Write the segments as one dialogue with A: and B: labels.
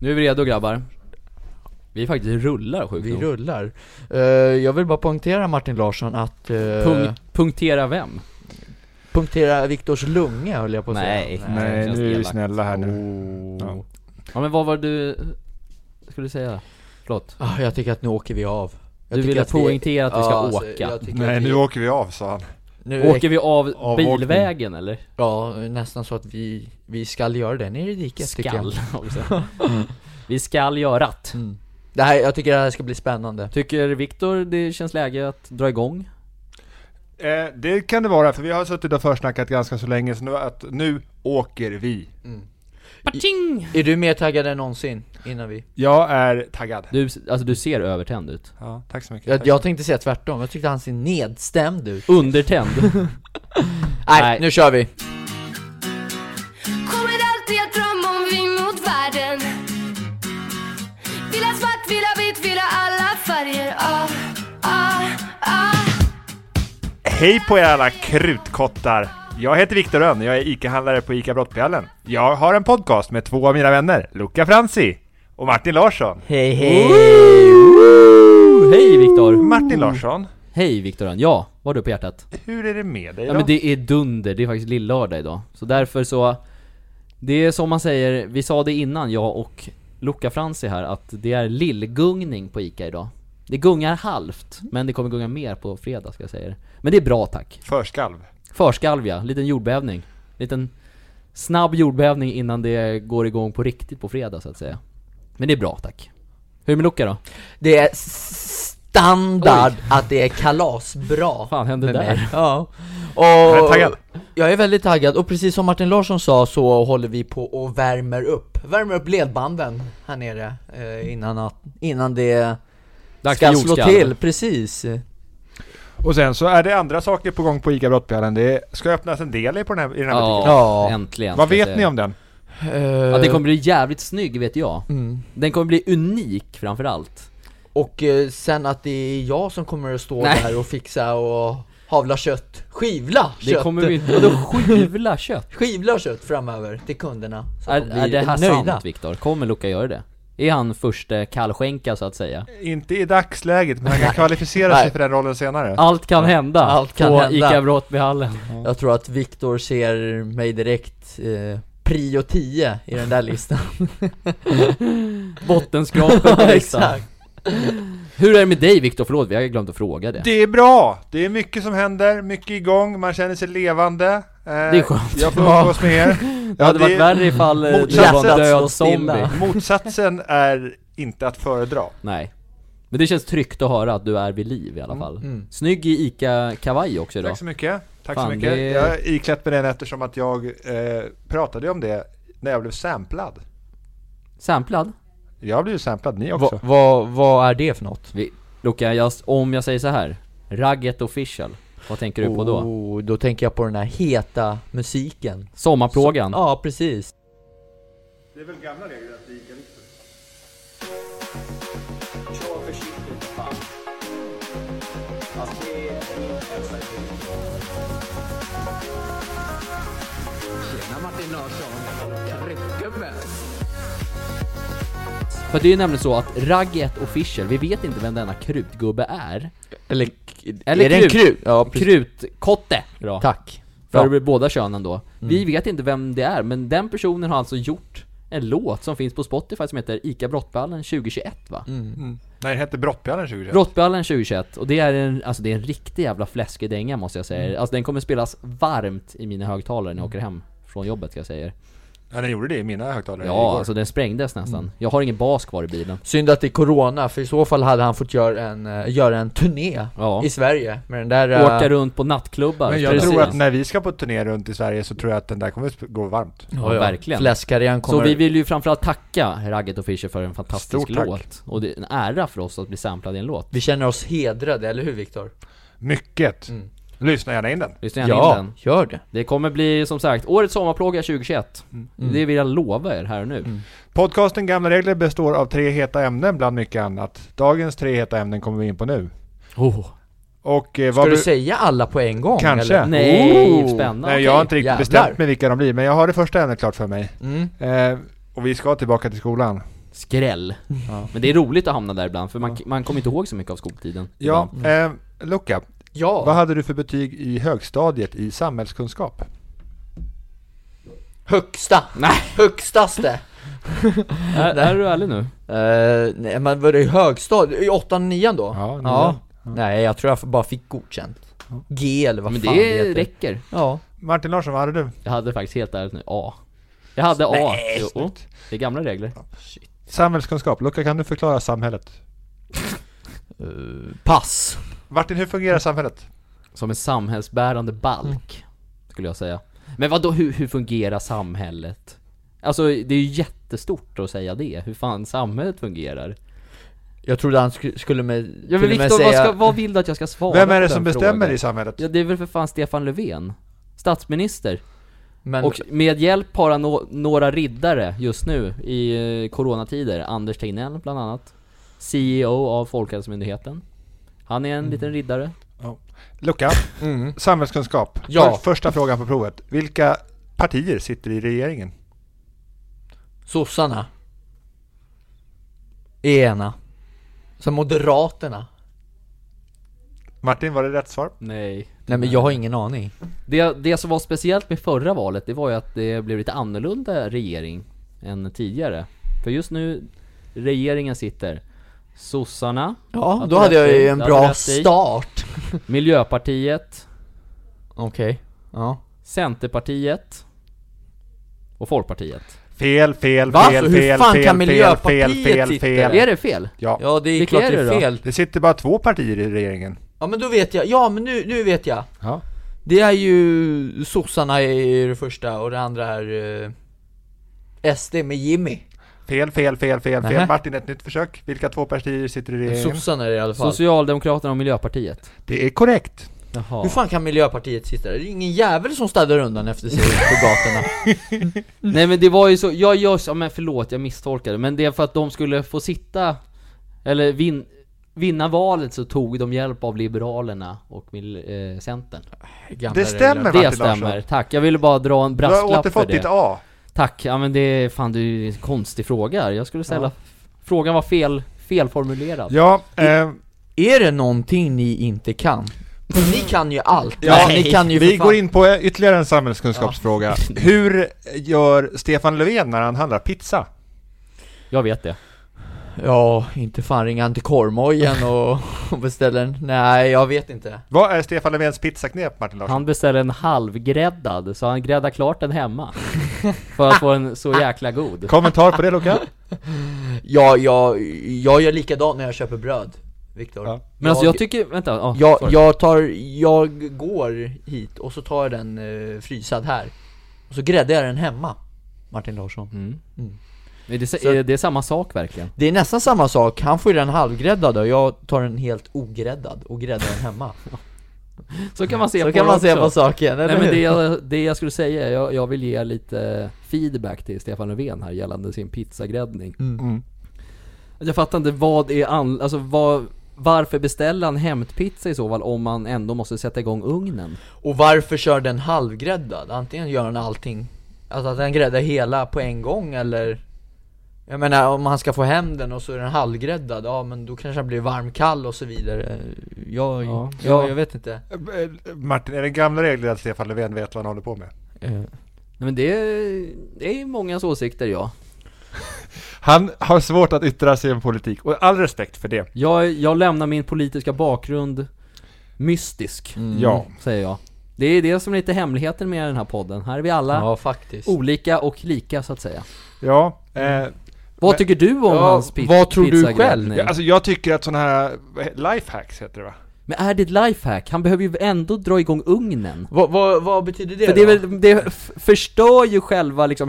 A: Nu är vi redo grabbar. Vi faktiskt rullar sjukt
B: Vi
A: nog.
B: rullar. Eh, jag vill bara poängtera Martin Larsson att... eh,
A: Punk- Punktera vem?
B: punktera Viktors lunga höll jag på att
A: Nej.
B: säga. Oh.
A: det
C: Nej,
A: känns
C: nu är vi
A: elakt.
C: snälla här nu. Ja.
A: Ja men vad var du, skulle du säga? Förlåt.
B: Ah, jag tycker att nu åker vi av. Jag
A: Du
B: tycker
A: ville
B: att vi-
A: poängtera att vi ska
B: Ja, alltså,
A: åka.
B: jag tycker
C: Nej,
B: att
C: nu
B: vi-
C: åker vi av sa han.
B: nu
A: Åker vi av
C: Avåkning.
A: bilvägen eller?
B: Ja, nästan så att vi, vi skall göra det nere i diket tycker jag.
A: Skall också. Vi skall göra det.
B: Mm. Det här, jag tycker det här ska bli spännande.
A: Tycker Viktor det känns läge att dra igång?
C: Eh, det kan det vara, för vi har suttit och försnackat ganska så länge, så nu, att nu åker vi.
A: Pating!
B: Är du mer taggad än någonsin innan vi?
C: Jag är taggad.
A: Du, alltså du ser övertänd ut.
C: Ja, tack så mycket.
B: Jag,
C: Tack.
B: jag tänkte säga tvärtom, jag tyckte han ser nedstämd ut.
A: Undertänd.
B: Nej,
A: Nej.
B: nu kör vi!
D: Kommer alltid att drömma om vi mot världen Vill ha svart, vill ha vitt, vill ha alla färger ah, ah, ah.
C: Hej på er alla krutkottar! Jag heter Viktor Rönn, jag är ICA-handlare på ICA Brottbjällen. Jag har en podcast med två av mina vänner, Luca Franzi och Martin Larsson.
B: Hej hej!
A: Hej Viktor!
C: Martin Larsson,
A: Hej Viktor Ja, vad har du på hjärtat?
C: hur är det med dig
A: Ja
C: då?
A: men det är dunder, det är faktiskt lillördag idag. Så därför så, det är som man säger, vi sa det innan jag och Luca Franzi här, att det är lillgungning på ICA idag. Det gungar halvt, men det kommer gunga mer på fredag ska jag säga er. Men det är bra tack.
C: Förskalv.
A: Förskalv ja, liten jordbävning. Liten snabb jordbävning innan det går igång på riktigt på fredag så att säga. Men det är bra tack. Hur är det med Luca då?
B: Det är s- standard att det är kalasbra.
A: fan hände
B: med
A: där?
B: mig. Ja.
C: Jag är
B: Och
C: taggad.
B: jag är väldigt taggad och precis som Martin Larsson sa så håller vi på och värmer upp. Värmer upp ledbanden här nere eh, innan, att, innan det
A: Dags
B: ska
A: för
B: slå
A: jordskalv.
B: till. Precis.
C: Och sen så är det andra saker på gång på ICA Brottbjällen. Det ska öppnas en del i på den här, i den här
A: Ja,
C: butiken.
B: Ja.
A: äntligen.
C: Vad
A: ska jag
C: vet
A: säga.
C: ni om den?
A: Att den kommer bli jävligt snygg vet jag.
B: Eh. Mm.
A: Den kommer bli unik framförallt.
B: Och eh, sen att det är jag som kommer att stå
A: Nej.
B: där och fixa och havla kött. Skivla
A: Det
B: kött!
A: kommer vi inte... Vadå skivla kött?
B: Skivla kött framöver till kunderna. Så
A: Är,
B: de
A: är
B: blir
A: det här
B: nöjda.
A: sant Viktor? Kommer Luca göra det? Är han första kallskänka så att säga?
C: Inte i dagsläget, men han kan kvalificera sig
B: Nej.
C: för den rollen senare.
A: Allt kan hända
B: Allt kan
A: på
B: hända.
A: ICA Brottbyhallen.
B: Jag tror att Viktor ser mig direkt eh, prio 10 i den där listan. Liksom.
A: Bottenskrapet på listan. Hur är det med dig Viktor? Förlåt, vi har glömt att fråga det.
C: Det är bra! Det är mycket som händer, mycket igång, man känner sig levande. Eh, det
A: är skönt.
C: Jag får
A: Ja.
C: umgås med er.
A: Det hade varit värre ifall eh, du
C: motsatsen.
A: var en död
B: Stått stilla.
A: zombie.
C: Motsatsen är inte att föredra.
A: Nej. Men det känns tryggt att höra att du är vid liv i alla fall.
B: mm.
A: Snygg i ICA-kavaj också idag.
C: Tack så mycket. Tack
A: Fan,
C: så mycket.
A: det-
C: Jag har iklätt mig den eftersom att jag eh, pratade ju om det när jag blev samplad.
A: Samplad?
C: Jag blev ju samplad, ni också.
B: Vad va, vad är det för något?
A: Vi, Luca, jag, om jag säger så här. Ragget official. Vad tänker du på då?
B: Oh, då tänker jag på den här heta musiken.
A: Sommarplågan?
B: Ja, precis.
C: Det är väl gamla regler att vi kan inte...
A: För det är ju nämligen så att Ragget official, vi vet inte vem denna krutgubbe är.
B: Eller,
A: Eller
B: är det en
A: krut?
B: krut? Ja, precis.
A: Krutkotte! Då.
B: Tack.
A: För
B: Bra. Mm.
A: båda könen då. Vi vet inte vem det är, men den personen har alltså gjort en låt som finns på Spotify som heter ICA Brottballen 2021
B: Mm.
A: va?
C: Nej, det hette Brottbjörnen 2021.
A: Brottballen 2021, och det är en, alltså det är en riktig jävla fläskedänga måste jag säga
C: Mm.
A: Alltså den kommer spelas varmt i mina högtalare när jag åker hem från jobbet ska jag säga er.
C: Ja, den gjorde det Mm. i mina högtalare
A: Ja,
C: igår.
A: alltså den sprängdes nästan. Jag har ingen bas kvar i bilen.
B: Synd att det är Corona, för i så fall hade han fått göra en, eh, göra en turné
A: Ja.
B: i Sverige med den där... eh,
A: Åka runt på nattklubbar.
C: Men jag
A: precis.
C: tror att när vi ska på turné runt i Sverige så tror jag att den där kommer sp- gå varmt.
A: Ja, verkligen.
B: Fläskkarriären kommer...
A: Så vi vill ju framförallt tacka Ragget och Fischer för en fantastisk
C: Stort tack.
A: låt. Och det är en ära för oss att bli samplade i en låt.
B: vi känner oss hedrade, eller hur Viktor?
C: Mycket!
B: Mm.
C: Lyssna gärna in den.
A: Lyssna gärna ja. in den.
B: gör det.
A: Det kommer bli som sagt, årets sommarplåga 2021.
C: Mm.
A: Det vill jag lova er här och nu.
C: Podcasten Gamla Regler består av tre heta ämnen bland mycket annat. Dagens tre heta ämnen kommer vi in på nu.
A: Oh.
C: Och eh,
B: Ska
C: vad...
B: du
C: bru-
B: säga alla på en gång?
C: Kanske.
B: Eller?
A: Nej, spännande.
C: Oh! Nej, jag har inte
B: Okej,
C: riktigt
B: jävlar.
C: bestämt mig vilka de blir, men jag har det första ämnet klart för mig.
B: Mm.
C: Eh, och vi ska tillbaka till skolan.
A: skräll.
B: Ja.
A: Men det är roligt att hamna där ibland, för man, man kommer inte ihåg så mycket av skoltiden.
C: Ja,
B: Mm.
C: eh, Luca,
B: Ja,
C: vad hade du för betyg i högstadiet i samhällskunskap?
B: högsta!
A: Nej.
B: Högstaste!
A: Är, är du ärlig nu?
B: Eh, nej men var det i högstadiet? I åttan, nian då?
C: Ja, nian.
B: Nej jag tror jag f- bara fick godkänt G eller vad
A: Men
B: fan det
A: det
B: heter
A: räcker.
B: Ja,
C: Martin Larsson, vad hade du?
A: Jag hade faktiskt helt ärligt nu A. Jag hade A. Jo, det är gamla regler.
C: Samhällskunskap, Luca kan du förklara samhället?
B: Eh, pass
C: Martin, hur fungerar samhället?
A: Som en samhällsbärande balk, skulle jag säga. Men vad då hur, hur fungerar samhället? Alltså det är ju jättestort att säga det, hur fan samhället fungerar.
B: Jag trodde han sk- skulle med,
A: Ja men
B: till och med
A: Viktor, vad,
B: säga-
A: ska, vad vill du att jag ska svara
C: Vem är
A: på
C: det
A: den
C: som bestämmer
A: frågan?
C: i samhället?
A: Ja det är väl för fan Stefan Löfven? Statsminister.
B: men,
A: Och med hjälp har han nå- några riddare just nu i eh, coronatider. Anders Tegnell bland annat. CEO av Folkhälsomyndigheten. Han är en liten riddare.
C: Luca,
B: mm.
C: samhällskunskap.
B: Ja.
C: För, första frågan på provet. Vilka partier sitter i regeringen?
B: Sossarna Ena Sen Moderaterna
C: Martin, var det rätt svar?
A: Nej.
B: Nej men jag har ingen aning
A: Det, det som var speciellt med förra valet, det var ju att det blev lite annorlunda regering än tidigare. För just nu, regeringen sitter sossarna,
B: Ja,
A: Att
B: då
A: du
B: hade
A: rätt
B: jag
A: i.
B: ju en
A: Det hade du
B: bra
A: rätt i.
B: start
A: Miljöpartiet,
B: Okej, ja
A: Centerpartiet och Folkpartiet.
C: Fel, fel,
B: Varför?
C: fel,
B: Hur
C: fel,
B: fan
C: fel,
B: kan
C: fel, fel,
B: Miljöpartiet
C: fel,
B: sitta?
A: Är
C: fel.
A: det fel?
C: Ja.
B: Ja det är
A: Vilka
B: klart
A: är
B: det
A: det då?
B: är fel
C: Det sitter bara två partier i regeringen.
B: Ja men då vet jag, ja men nu, nu vet jag
C: Ja.
B: Det är ju sossarna i det första och det andra är eh, SD med Jimmy
C: Fel, fel, fel, fel, fel.
B: Nähä.
C: Martin, ett nytt försök. Vilka två partier sitter i regeringen?
B: Sossarna är det i alla fall
A: Socialdemokraterna och Miljöpartiet.
C: Det är korrekt.
A: Jaha.
B: Hur fan kan Miljöpartiet sitta där? Det är ingen jävel som städar undan efter sig på gatorna
A: Nej men det var ju så, jag gör så, men förlåt jag misstolkade, men det är för att de skulle få sitta, eller vin, vinna valet så tog de hjälp av Liberalerna och mil, eh, Centern.
B: Gamla
C: Det stämmer
B: regler.
A: Det
C: Martin
A: stämmer,
C: Larsson.
A: tack. Jag ville bara dra en
C: Du har
A: brasklapp för
C: återfått
A: det.
C: ditt A.
A: Tack, ja men det är fan det är ju en konstig fråga. Jag skulle ställa,
B: Ja.
A: frågan var fel, felformulerad.
C: Ja, eh,
B: Är det någonting ni inte kan? Ni kan ju allt!
C: Ja,
B: ni kan ju för
C: vi
B: fan-
C: går in på eh, ytterligare en samhällskunskapsfråga. Hur gör Stefan Löfven när han handlar pizza?
A: Jag vet det.
B: Ja, inte fan ringa han till korvmojen och och beställa en Nej, jag vet inte
C: Vad är Stefan Löfvens pizzaknep, Martin Larsson?
A: Han beställer en halvgräddad, så han gräddar klart den hemma. För att få den så jäkla god.
C: Kommentar på det Luca?
B: Ja, jag, jag gör likadant när jag köper bröd Viktor
C: Ja.
A: Men alltså jag tycker, vänta, ah,
B: Jag,
A: sorry.
B: jag tar, jag går hit och så tar jag den eh, frysad här Och så gräddar jag den hemma Martin Larsson
A: Mm. Är det,
B: Så-
A: är det samma sak verkligen?
B: Det är nästan samma sak, han får ju den halvgräddad och jag tar den helt ogräddad och gräddar den hemma
A: Så kan man se
B: Så
A: på
B: kan
A: det
B: man se
A: också.
B: på saken, eller
A: Nej men
B: hur?
A: det jag, det jag skulle säga, är- jag, jag vill ge lite feedback till Stefan Löfven här gällande sin pizzagräddning.
C: Mm.
A: Jag fattar inte vad är an, alltså vad, varför beställer han hämtpizza i så fall om man ändå måste sätta igång ugnen?
B: Och varför kör den halvgräddad? Antingen gör han allting Alltså att den gräddar hela på en gång eller Jag menar om han ska få hem den och så är den halvgräddad, ja men då kanske han blir varm, kall och så vidare Jag,
A: Ja.
B: jag, jag vet inte
C: Eh, Martin, är det gamla regler att Stefan Löfven vet vad han håller på med?
A: Nej men det, är- det är mångas åsikter ja.
C: Han har svårt att yttra sig om politik, och all respekt för det.
A: Jag, jag lämnar min politiska bakgrund mystisk,
B: Mm.
C: Ja.
A: säger jag. Det är det som är lite hemligheten med den här podden. Här är vi alla
B: Ja faktiskt
A: olika och lika så att säga.
C: Ja, eh,
A: Vad
C: Men-
A: tycker du om
B: Ja,
A: hans pi-
B: vad tror du
A: pizzagräddning?
C: ja, alltså jag tycker att sådana här vad he- lifehacks heter det va?
A: Men är det ett lifehack? Han behöver ju ändå dra igång ugnen.
B: Vad, vad, vad betyder det,
A: För det, är
B: då?
A: väl, det f- förstör ju själva liksom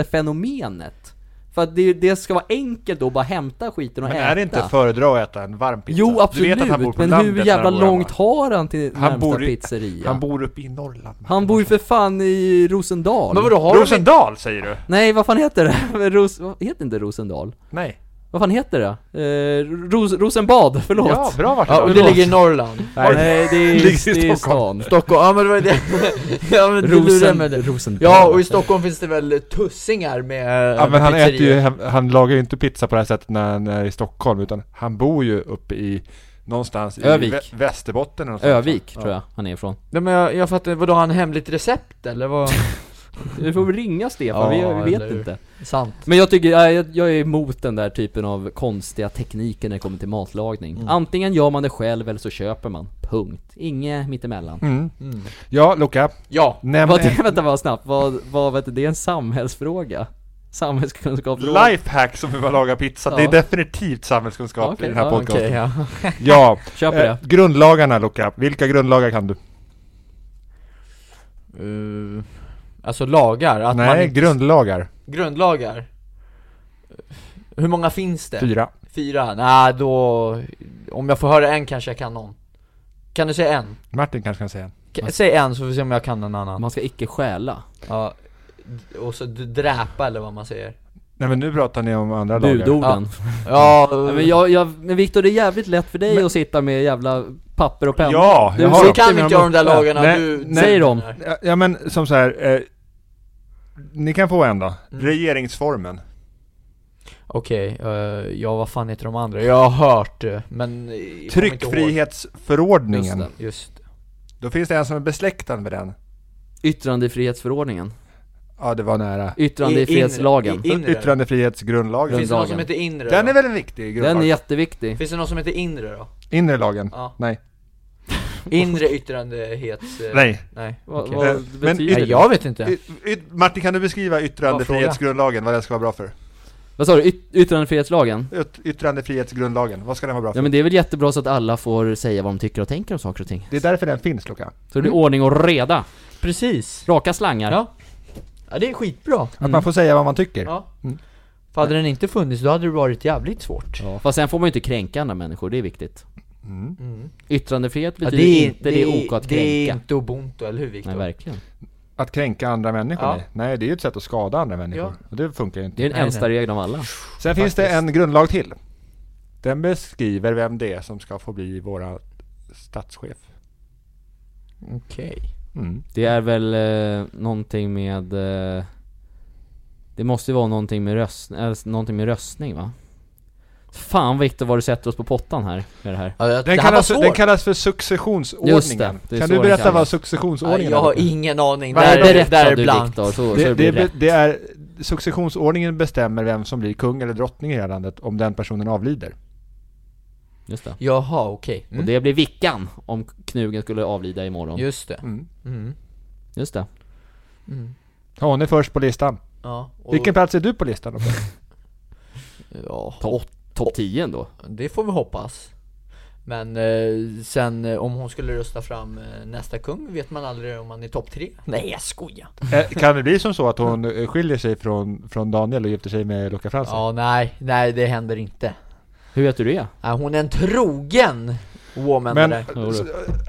A: hämtpizzefenomenet. För att det, det ska vara enkelt då att bara hämta skiten och
C: Men
A: äta.
C: är det inte att föredra att äta en varm pizza?
A: Jo
C: Du
A: absolut,
C: vet att han bor på
A: men
C: landet
A: hur
C: när
A: jävla
C: han bor hemma.
A: långt har han till
C: Han
A: närmsta
C: bor i-
A: pizzeria?
C: Han bor uppe i Norrland. Martin.
A: Han bor ju för fan i Rosendal.
B: Men vadå, har de inte-
C: Rosendal säger du?
A: Nej vad fan heter det? Ros... vad Heter inte Rosendal?
C: Nej.
A: Vad fan heter det? Eh, Ros- Rosenbad, förlåt!
C: Ja, bra vart
B: Ja, och det
A: förlåt.
B: ligger i Norrland
A: Nej, det är,
C: Ligger i
A: det är i stan.
C: Stockholn.
B: Stockholm, ja men det var ju det Ja men du lurade mig
A: Rosen,
B: det
A: Rosenbad.
B: Ja, och i Stockholm finns det väl tussingar med
C: Ja
B: med
C: men han
B: pizzerior.
C: äter ju, han, han lagar ju inte pizza på det här sättet när han är i Stockholm utan han bor ju uppe i någonstans
A: Övik.
C: i Vä- Västerbotten eller något sånt.
A: Övik, tror jag han är ifrån.
B: Nej men jag, jag fattar, vadå har han hemligt recept eller vad?
A: Du får väl ringa Stefan,
B: Ja,
A: vi, vi vet
B: eller hur.
A: inte.
B: Sant
A: Men jag tycker, ja, jag, jag är emot den där typen av konstiga tekniker när det kommer till matlagning.
B: Mm.
A: Antingen gör man det själv eller så köper man. Punkt. Inget mittemellan.
C: Mm. Ja, Luca.
B: Ja,
C: Nämn
A: Vad,
C: eh,
A: vänta bara snabbt, vad, vad vet du, det är en samhällsfråga? Samhällskunskapsfråga?
C: lifehack som hur man lagar pizza. Det är
A: Ja.
C: definitivt samhällskunskap
A: Okej,
C: i den här
A: ja,
C: podcasten.
B: okej ja
C: Ja,
A: Köper
C: eh,
A: det.
C: grundlagarna Luca. Vilka grundlagar kan du?
B: Eh, Alltså lagar, att man
C: Nej,
B: inte...
C: grundlagar.
B: Grundlagar Eh, Hur många finns det?
C: Fyra.
B: Fyra? Nej då, om jag får höra en kanske jag kan någon Kan du säga en?
C: Martin kanske kan säga. en.
B: K- Säg en så får vi se om jag kan en annan
A: Man ska icke stjäla.
B: Ja, d- och så d- dräpa eller vad man säger
C: Nej men nu pratar ni om andra lagar.
A: Budorden.
B: Ja,
A: Ja, men jag, jag, men Viktor det är jävligt lätt för dig att sitta med jävla papper och penna.
C: Ja,
A: Du
C: jag har
B: du
A: sitter
C: dem.
B: kan
A: med
B: inte göra de där
A: uppe.
B: lagarna
C: Nej,
B: du
A: nej. Säg dem.
C: Ja, Ja men som så här. Eh, ni kan få en då.
B: Mm.
C: Regeringsformen.
B: Okej, eh, ja vad fan heter de andra? Jag har hört eh, men... eh, jag kommer inte ihåg.
A: Just
C: Tryckfrihetsförordningen.
A: det.
B: Just det.
C: Då finns det en som är besläktad med den.
A: Yttrandefrihetsförordningen.
C: Ja, det var nära.
A: Yttrandefrihetslagen.
B: In- in- inre då?
C: Yttrandefrihetsgrundlagen.
B: Finns det någon
A: Grundlagen.
B: som heter inre
C: Den
B: då?
C: är väl en viktig grundlag?
A: Den är jätteviktig.
B: Finns det någon som heter inre då?
C: Inre lagen?
B: Ja.
C: Nej.
B: Inre yttrandehets... eh,
C: Nej.
B: Nej,
A: Vad,
B: okej.
A: vad
C: Eh, men
A: betyder
B: Nej,
A: det?
B: jag vet inte.
C: Y- y- Martin, kan du beskriva yttrandefrihetsgrundlagen, vad den ska vara bra för?
A: Vad sa du? Yt- yttrandefrihetslagen?
C: Yt- yttrandefrihetsgrundlagen, vad ska den vara bra för?
A: Ja men det är väl jättebra så att alla får säga vad de tycker och tänker om saker och ting.
C: Det är därför den finns, Luca.
A: Så det blir ordning och reda.
B: Precis.
A: Raka slangar.
B: Mm. Ja. Ja, det är skitbra.
C: Att man får säga vad man tycker.
B: Ja.
C: Mm.
B: För hade den inte funnits, då hade det varit jävligt svårt.
A: Ja, Fast sen får man ju inte kränka andra människor, det är viktigt.
C: Mm.
B: Mm.
A: Yttrandefrihet
B: Ja,
A: betyder inte det är ok att
B: Det är
A: kränka.
B: inte ubuntu, eller hur Viktor?
A: Nej verkligen.
C: Att kränka andra människor?
B: Ja.
C: Nej. Nej, det är ju ett sätt att skada andra människor. Och det funkar ju inte.
A: Det är den
B: Nej,
A: äldsta regeln av alla.
C: Sen finns det en grundlag till. Den beskriver vem det är som ska få bli våra statschef.
B: Okej.
C: Mm.
A: Det är väl eh, någonting med... Eh, det måste ju vara någonting med, röst, äh, någonting med röstning va? Fan Viktor vad du sätter oss på pottan här med det här.
B: Ja, det-
C: Den,
B: det här var
C: kallas,
B: svårt.
C: den kallas för successionsordningen.
A: Just det, det är
C: kan
A: så
C: du
A: den
C: berätta
A: kallas.
C: vad
B: Nej,
C: successionsordningen
B: jag har
C: är?
B: ingen aning.
C: Vad
B: Där,
C: är det?
B: där,
A: Berättar
B: är
A: du
B: blankt.
A: Viktor så, så
C: Det,
A: det blir det
C: det, be-
A: rätt.
C: det är, successionsordningen bestämmer vem som blir kung eller drottning i det här landet om den personen avlider.
A: Just det.
B: Jaha, okej.
A: Och
B: Mm.
A: det blir Vickan om knugen skulle avlida imorgon. Just,
B: Just det.
C: Mm.
B: Mm.
A: Just det.
B: Mm.
C: Ja, hon är först på listan.
B: Ja, och,
C: Vilken plats är du på listan? Robert?
B: ja,
A: Topp top 10 ändå.
B: det får vi hoppas. Men eh, sen eh, om hon skulle rösta fram eh, nästa kung vet man aldrig om han är topp tre. Nej, jag skojar.
C: Eh, kan det bli som så att hon eh, skiljer sig från, från Daniel och gifter sig med Luca Fransson?
B: Ja, nej, nej det händer inte.
A: Hur vet du det?
B: Nej, hon är en trogen woman
C: Men
B: det där.
A: Jo,
C: s-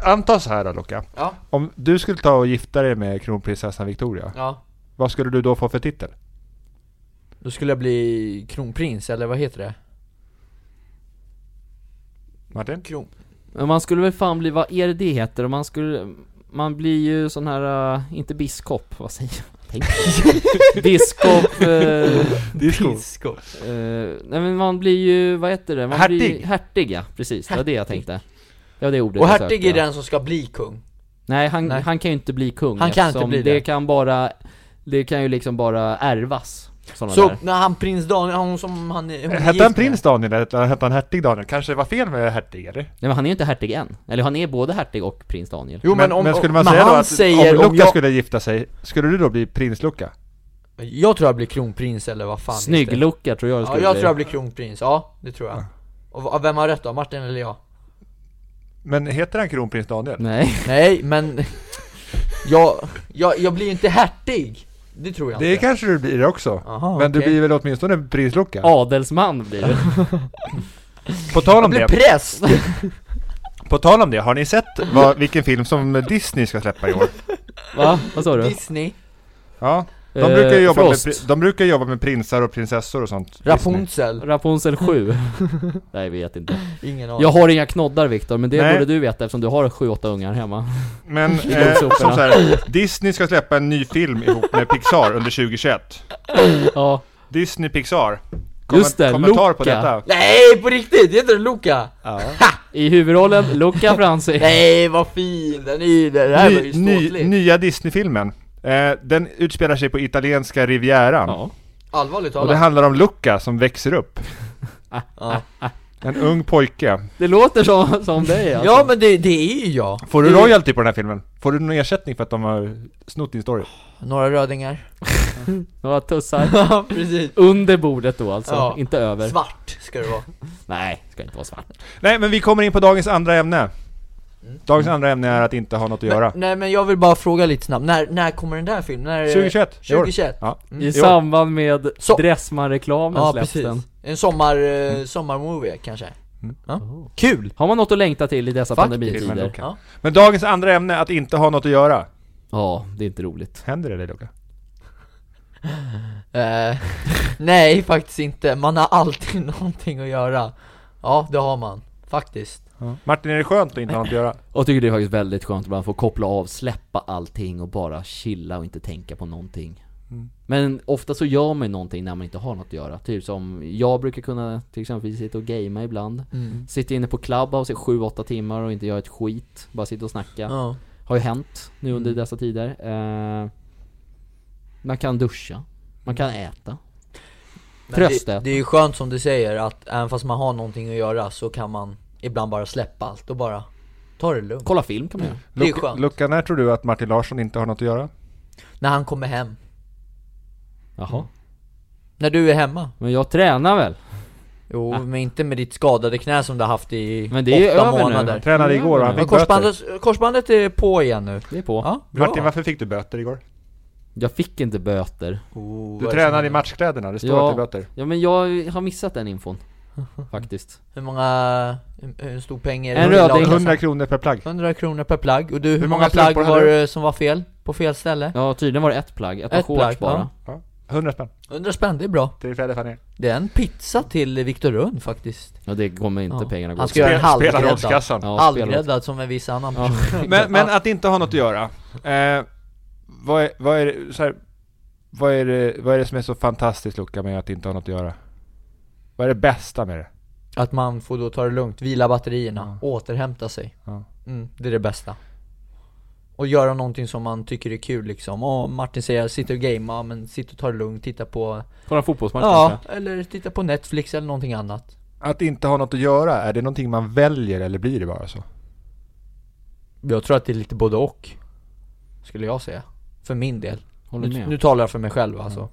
C: anta så här då Luca.
B: Ja,
C: Om du skulle ta och gifta dig med kronprinsessan Victoria,
B: ja.
C: vad skulle du då få för titel?
B: Då skulle jag bli kronprins, eller vad heter det?
C: Martin?
B: Kron...
A: Men man skulle väl fan bli, vad är det det heter? Man skulle, man blir ju sån här, äh, inte biskop, vad säger jag? Tänk. biskop, eh,
B: Biskop.
A: Eh, nej men man blir ju, vad heter det? Man Blir,
C: Hertig.
A: ju- hertig ja, precis. Det var det jag tänkte. Det var det ordet
B: Och
A: jag
B: hertig
A: sökte,
B: är
A: ja.
B: den som ska bli kung.
A: Nej han,
B: Nej.
A: han kan ju inte bli kung
B: Han kan inte
A: eftersom
B: bli det.
A: det kan bara, det kan ju liksom bara ärvas. Sådana
B: Så
A: där.
B: när han prins Daniel, hon som han är... hon är gift
C: Hette han
B: med.
C: prins Daniel eller hette han hertig Daniel? Kanske det var fel med hertig eller?
A: Nej men han är ju inte hertig än. Eller han är både hertig och prins Daniel.
B: Jo men,
C: men,
B: om,
C: men skulle man
B: men
C: säga då
B: han
C: att
B: säger
C: om
B: om,
C: Luca
B: jag,
C: skulle gifta sig, skulle du då bli prins Luca?
B: jag tror jag blir kronprins eller vad fan heter det?
A: Snygg-Luca tror jag det
B: Ja,
A: skulle
B: jag
A: bli.
B: tror jag blir kronprins, ja det tror jag Och v- vem har rätt då? Martin eller jag?
C: Men heter han kronprins Daniel?
A: Nej.
B: Nej men... jag, jag, jag blir ju inte hertig! Det tror jag
C: Det
B: inte
C: kanske du blir också.
B: Aha,
C: men du
B: Ah, okej.
C: blir väl åtminstone prins Luca?
A: Adelsman blir det.
C: På tal
B: Jag
C: om
B: blir
C: det,
B: präst!
C: på tal om det, har ni sett vad, vilken film som Disney ska släppa i år?
A: Va? Vad sa du?
B: Disney
C: Ja, De brukar ju jobba, med,
A: Eh, Frost.
C: pri- de brukar jobba med prinsar och prinsessor och sånt. Disney.
B: Rapunzel?
A: Rapunzel 7. Nej, jag vet inte.
B: Ingen aning.
A: Jag har inga knoddar Viktor, men det
C: Nej.
A: borde du veta eftersom du har 7-8 ungar hemma.
C: Men eh, som
A: grovsoporna.
C: så här, Disney ska släppa en ny film ihop med Pixar under 2021.
A: Ja,
C: Disney Pixar.
A: Just det,
C: kommentar på
A: Luca.
C: detta.
B: Nej på riktigt! Heter den Luca?
A: i huvudrollen Luca Franzi.
B: Nej vad fin! Den är ju, den här var ju
C: Ny, ny,
B: ståtlig.
C: nya Disney-filmen. Eh, den utspelar sig på italienska rivieran.
A: Ja.
B: Allvarligt
C: Och det
B: talat.
C: handlar om Luca som växer upp.
B: Ja.
C: En ung pojke.
A: Det låter som, som dig alltså.
B: ja men det, det är ju jag.
C: Får
B: Det
C: du
B: är ju-
C: royalty på den här filmen? Får du någon ersättning för att de har snott din story?
B: Några rödingar.
A: Några tussar.
B: Ja precis.
A: Under bordet då alltså,
B: Ja.
A: inte över.
B: Svart ska det vara.
A: Nej, ska inte vara svart.
C: Nej, men vi kommer in på dagens andra ämne.
A: Mm.
C: Dagens andra ämne är att inte ha något att göra.
B: Men, nej men jag vill bara fråga lite snabbt, när, när kommer den där filmen? När,
C: 2021. i år.
B: 2021?
C: Ja.
A: I
C: Jo.
A: samband med
B: Mm. Så-
A: Dressmann-reklamen
B: Ja
A: släpps
B: precis.
A: den. Mm.
B: En sommar, eh, sommarmovie kanske? Ja. Kul!
A: Har man något att längta till Oh. i dessa
B: Faktiskt.
C: Filmen
A: pandemitider?
C: Luca.
B: Ja.
C: Men dagens andra ämne, att inte ha något att göra.
A: Ja, det är inte roligt.
C: Händer det dig Luca?
B: Eh, nej faktiskt inte, man har alltid någonting att göra. Ja det har man, faktiskt.
C: Martin, är det skönt att inte ha något att göra?
A: Och jag tycker det är faktiskt väldigt skönt att man får koppla av, släppa allting och bara chilla och inte tänka på någonting.
B: Mm.
A: Men ofta så gör man ju någonting när man inte har något att göra. Typ som, jag brukar kunna till exempel sitta och gamea ibland. Sitta inne på Clubhouse i 7-8 timmar och inte göra ett skit. Bara sitta och snacka.
B: Ja. Mm.
A: Har ju hänt nu under dessa tider. Eh, man kan duscha. Man kan äta.
B: Men
A: Tröst
B: det,
A: det.
B: det är ju skönt som du säger att även fast man har någonting att göra så kan man ibland bara släppa allt och bara ta det lugnt.
A: Kolla film kan man göra.
B: Det är
C: Luca-
B: skönt.
C: Luca, när tror du att Martin Larsson inte har något att göra?
B: När han kommer hem.
A: Jaha.
B: När du är hemma.
A: Men jag tränar väl?
B: Jo, men inte med ditt skadade knä som du har haft i
A: Men det är ju
B: åtta
A: över nu.
B: månader.
C: Han tränade
A: Ja,
C: igår och
A: men-
C: han
B: Men
C: fick böter.
B: korsbandet, korsbandet är på igen nu.
A: Det är på.
B: Ja, bra.
C: Martin, varför fick du böter igår?
A: Jag fick inte böter.
B: Oh,
C: Du
B: vad är det som
C: tränade i
B: händer?
C: matchkläderna, det står
A: Ja.
C: att det är böter.
A: Ja men jag har missat den infon. Faktiskt.
B: Hur många, hur- hur stor peng är det?
A: En
B: i
A: röding.
B: laget?
C: 100 kronor per plagg.
B: 100 kronor per plagg. Och du, hur,
C: Hur många
B: många plagg
C: strumpor
B: var
C: hade
B: det som var fel? På fel ställe?
A: Ja tydligen var det ett plagg, ett par
B: Ett
A: shorts
B: plagg,
A: bara.
B: ja.
C: 100 spänn.
B: 100 spänn, det är bra.
C: Till Fredde Fanny.
B: Det är en pizza till Viktor Rund faktiskt.
A: Ja det kommer inte
B: Ja.
A: pengarna gå
B: Han
A: till.
B: ska göra en
C: Spelar
B: halvgräddad.
C: rollskassan.
A: Ja, spela
B: Halvgräddad som en viss annan
A: Ja.
B: person.
C: Men, men att inte ha något att göra. Eh, vad, är, vad, är, det- så här, vad, är det, vad är det som är så fantastiskt Luca med att inte ha något att göra? Vad är det bästa med det?
B: Att man får då ta det lugnt, vila batterierna, återhämta sig.
C: Ja.
B: Mm, det är det bästa. Och göra någonting som man tycker är kul liksom. Och Martin säger, sitta och gamea, men sitt och ta det lugnt, titta på,
A: Kolla en fotbollsmatch
B: ja,
A: kanske?
B: eller titta på Netflix eller någonting annat.
C: Att inte ha något att göra, är det någonting man väljer eller blir det bara så?
B: Jag tror att det är lite både och. Skulle jag säga. För min del.
A: Håller
B: Nu,
A: med.
B: nu talar jag för mig själv alltså.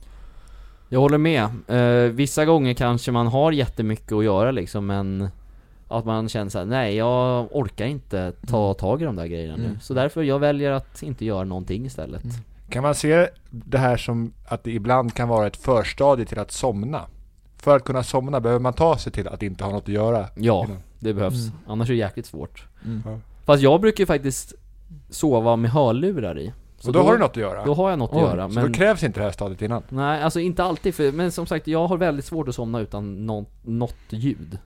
A: Jag håller med. Eh, vissa gånger kanske man har jättemycket att göra liksom men att man känner såhär, nej jag orkar inte
B: Mm.
A: ta tag i de där grejerna nu. Så därför jag väljer att inte göra någonting istället.
B: Mm.
C: Kan man se det här som att det ibland kan vara ett förstadie till att somna? För att kunna somna behöver man ta sig till att inte ha något att göra.
A: Ja, det behövs.
B: Mm.
A: Annars är det jäkligt svårt.
C: Mm. Ja.
A: Fast jag brukar ju faktiskt sova med hörlurar i. Så
C: och då, har du något att göra.
A: Då har jag något
C: Oj,
A: att göra.
C: Så
A: Men
C: då krävs inte det här stadiet innan.
A: Nej, alltså inte alltid, för, men som sagt jag har väldigt svårt att somna utan nå- något ljud.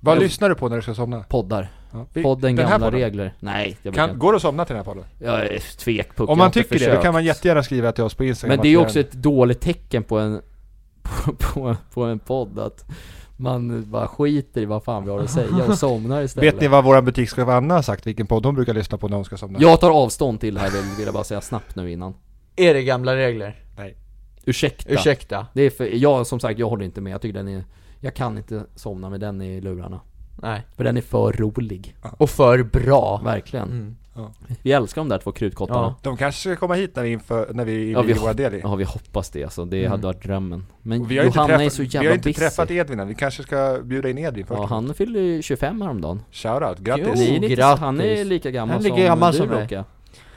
C: Vad
A: Jo.
C: lyssnar du på när du ska somna?
A: Poddar.
C: Ja.
A: Podden
C: Den här
A: gamla
C: podden?
A: regler. Nej, jag brukar
C: Kan,
A: inte.
C: går det att somna till den här podden?
A: Jag är tvekpuck, jag
C: Om
A: har
C: man
A: inte
C: tycker det, då
A: försökt.
C: kan man jättegärna skriva till oss på Instagram
A: Men
C: att
A: det är
C: vi
A: ju
C: har
A: också
C: en-
A: ett dåligt tecken på en, på, på, på en podd att man bara skiter i vad fan vi har att säga och somnar istället.
C: Vet ni vad vår butikschef Anna har sagt? Vilken podd hon brukar lyssna på när hon ska somna?
A: Jag tar avstånd till det här, vill- vill jag bara säga snabbt nu innan.
B: Är det gamla regler?
C: Nej.
A: Ursäkta.
B: Ursäkta.
A: Det är för, jag som sagt, jag håller inte med. Jag tycker den är, jag kan inte somna med den i lurarna.
B: Nej.
A: För den är för rolig.
B: Och för bra.
A: Verkligen.
B: Mm.
A: Vi älskar de där två krutkottarna.
B: Ja.
C: De kanske ska komma hit när vi, inför, när vi
A: Ja, vi
C: inviger
A: har-
C: våra deli.
A: Ja vi hoppas det alltså, det hade varit drömmen. Men
C: Och Vi har ju inte,
A: Johanna är
C: träffat,
A: så
C: vi har
A: jävla
C: ju inte
A: busy.
C: träffat Edvin än. Vi kanske ska bjuda in Edvin först.
A: Ja han fyllde ju 25 häromdagen.
C: Shoutout,
B: Jo.
C: grattis!
A: Ni är lite,
B: grattis.
A: han är lika gammal
B: Han är lika
A: som
B: gammal
A: du
B: som mig.
A: Loka.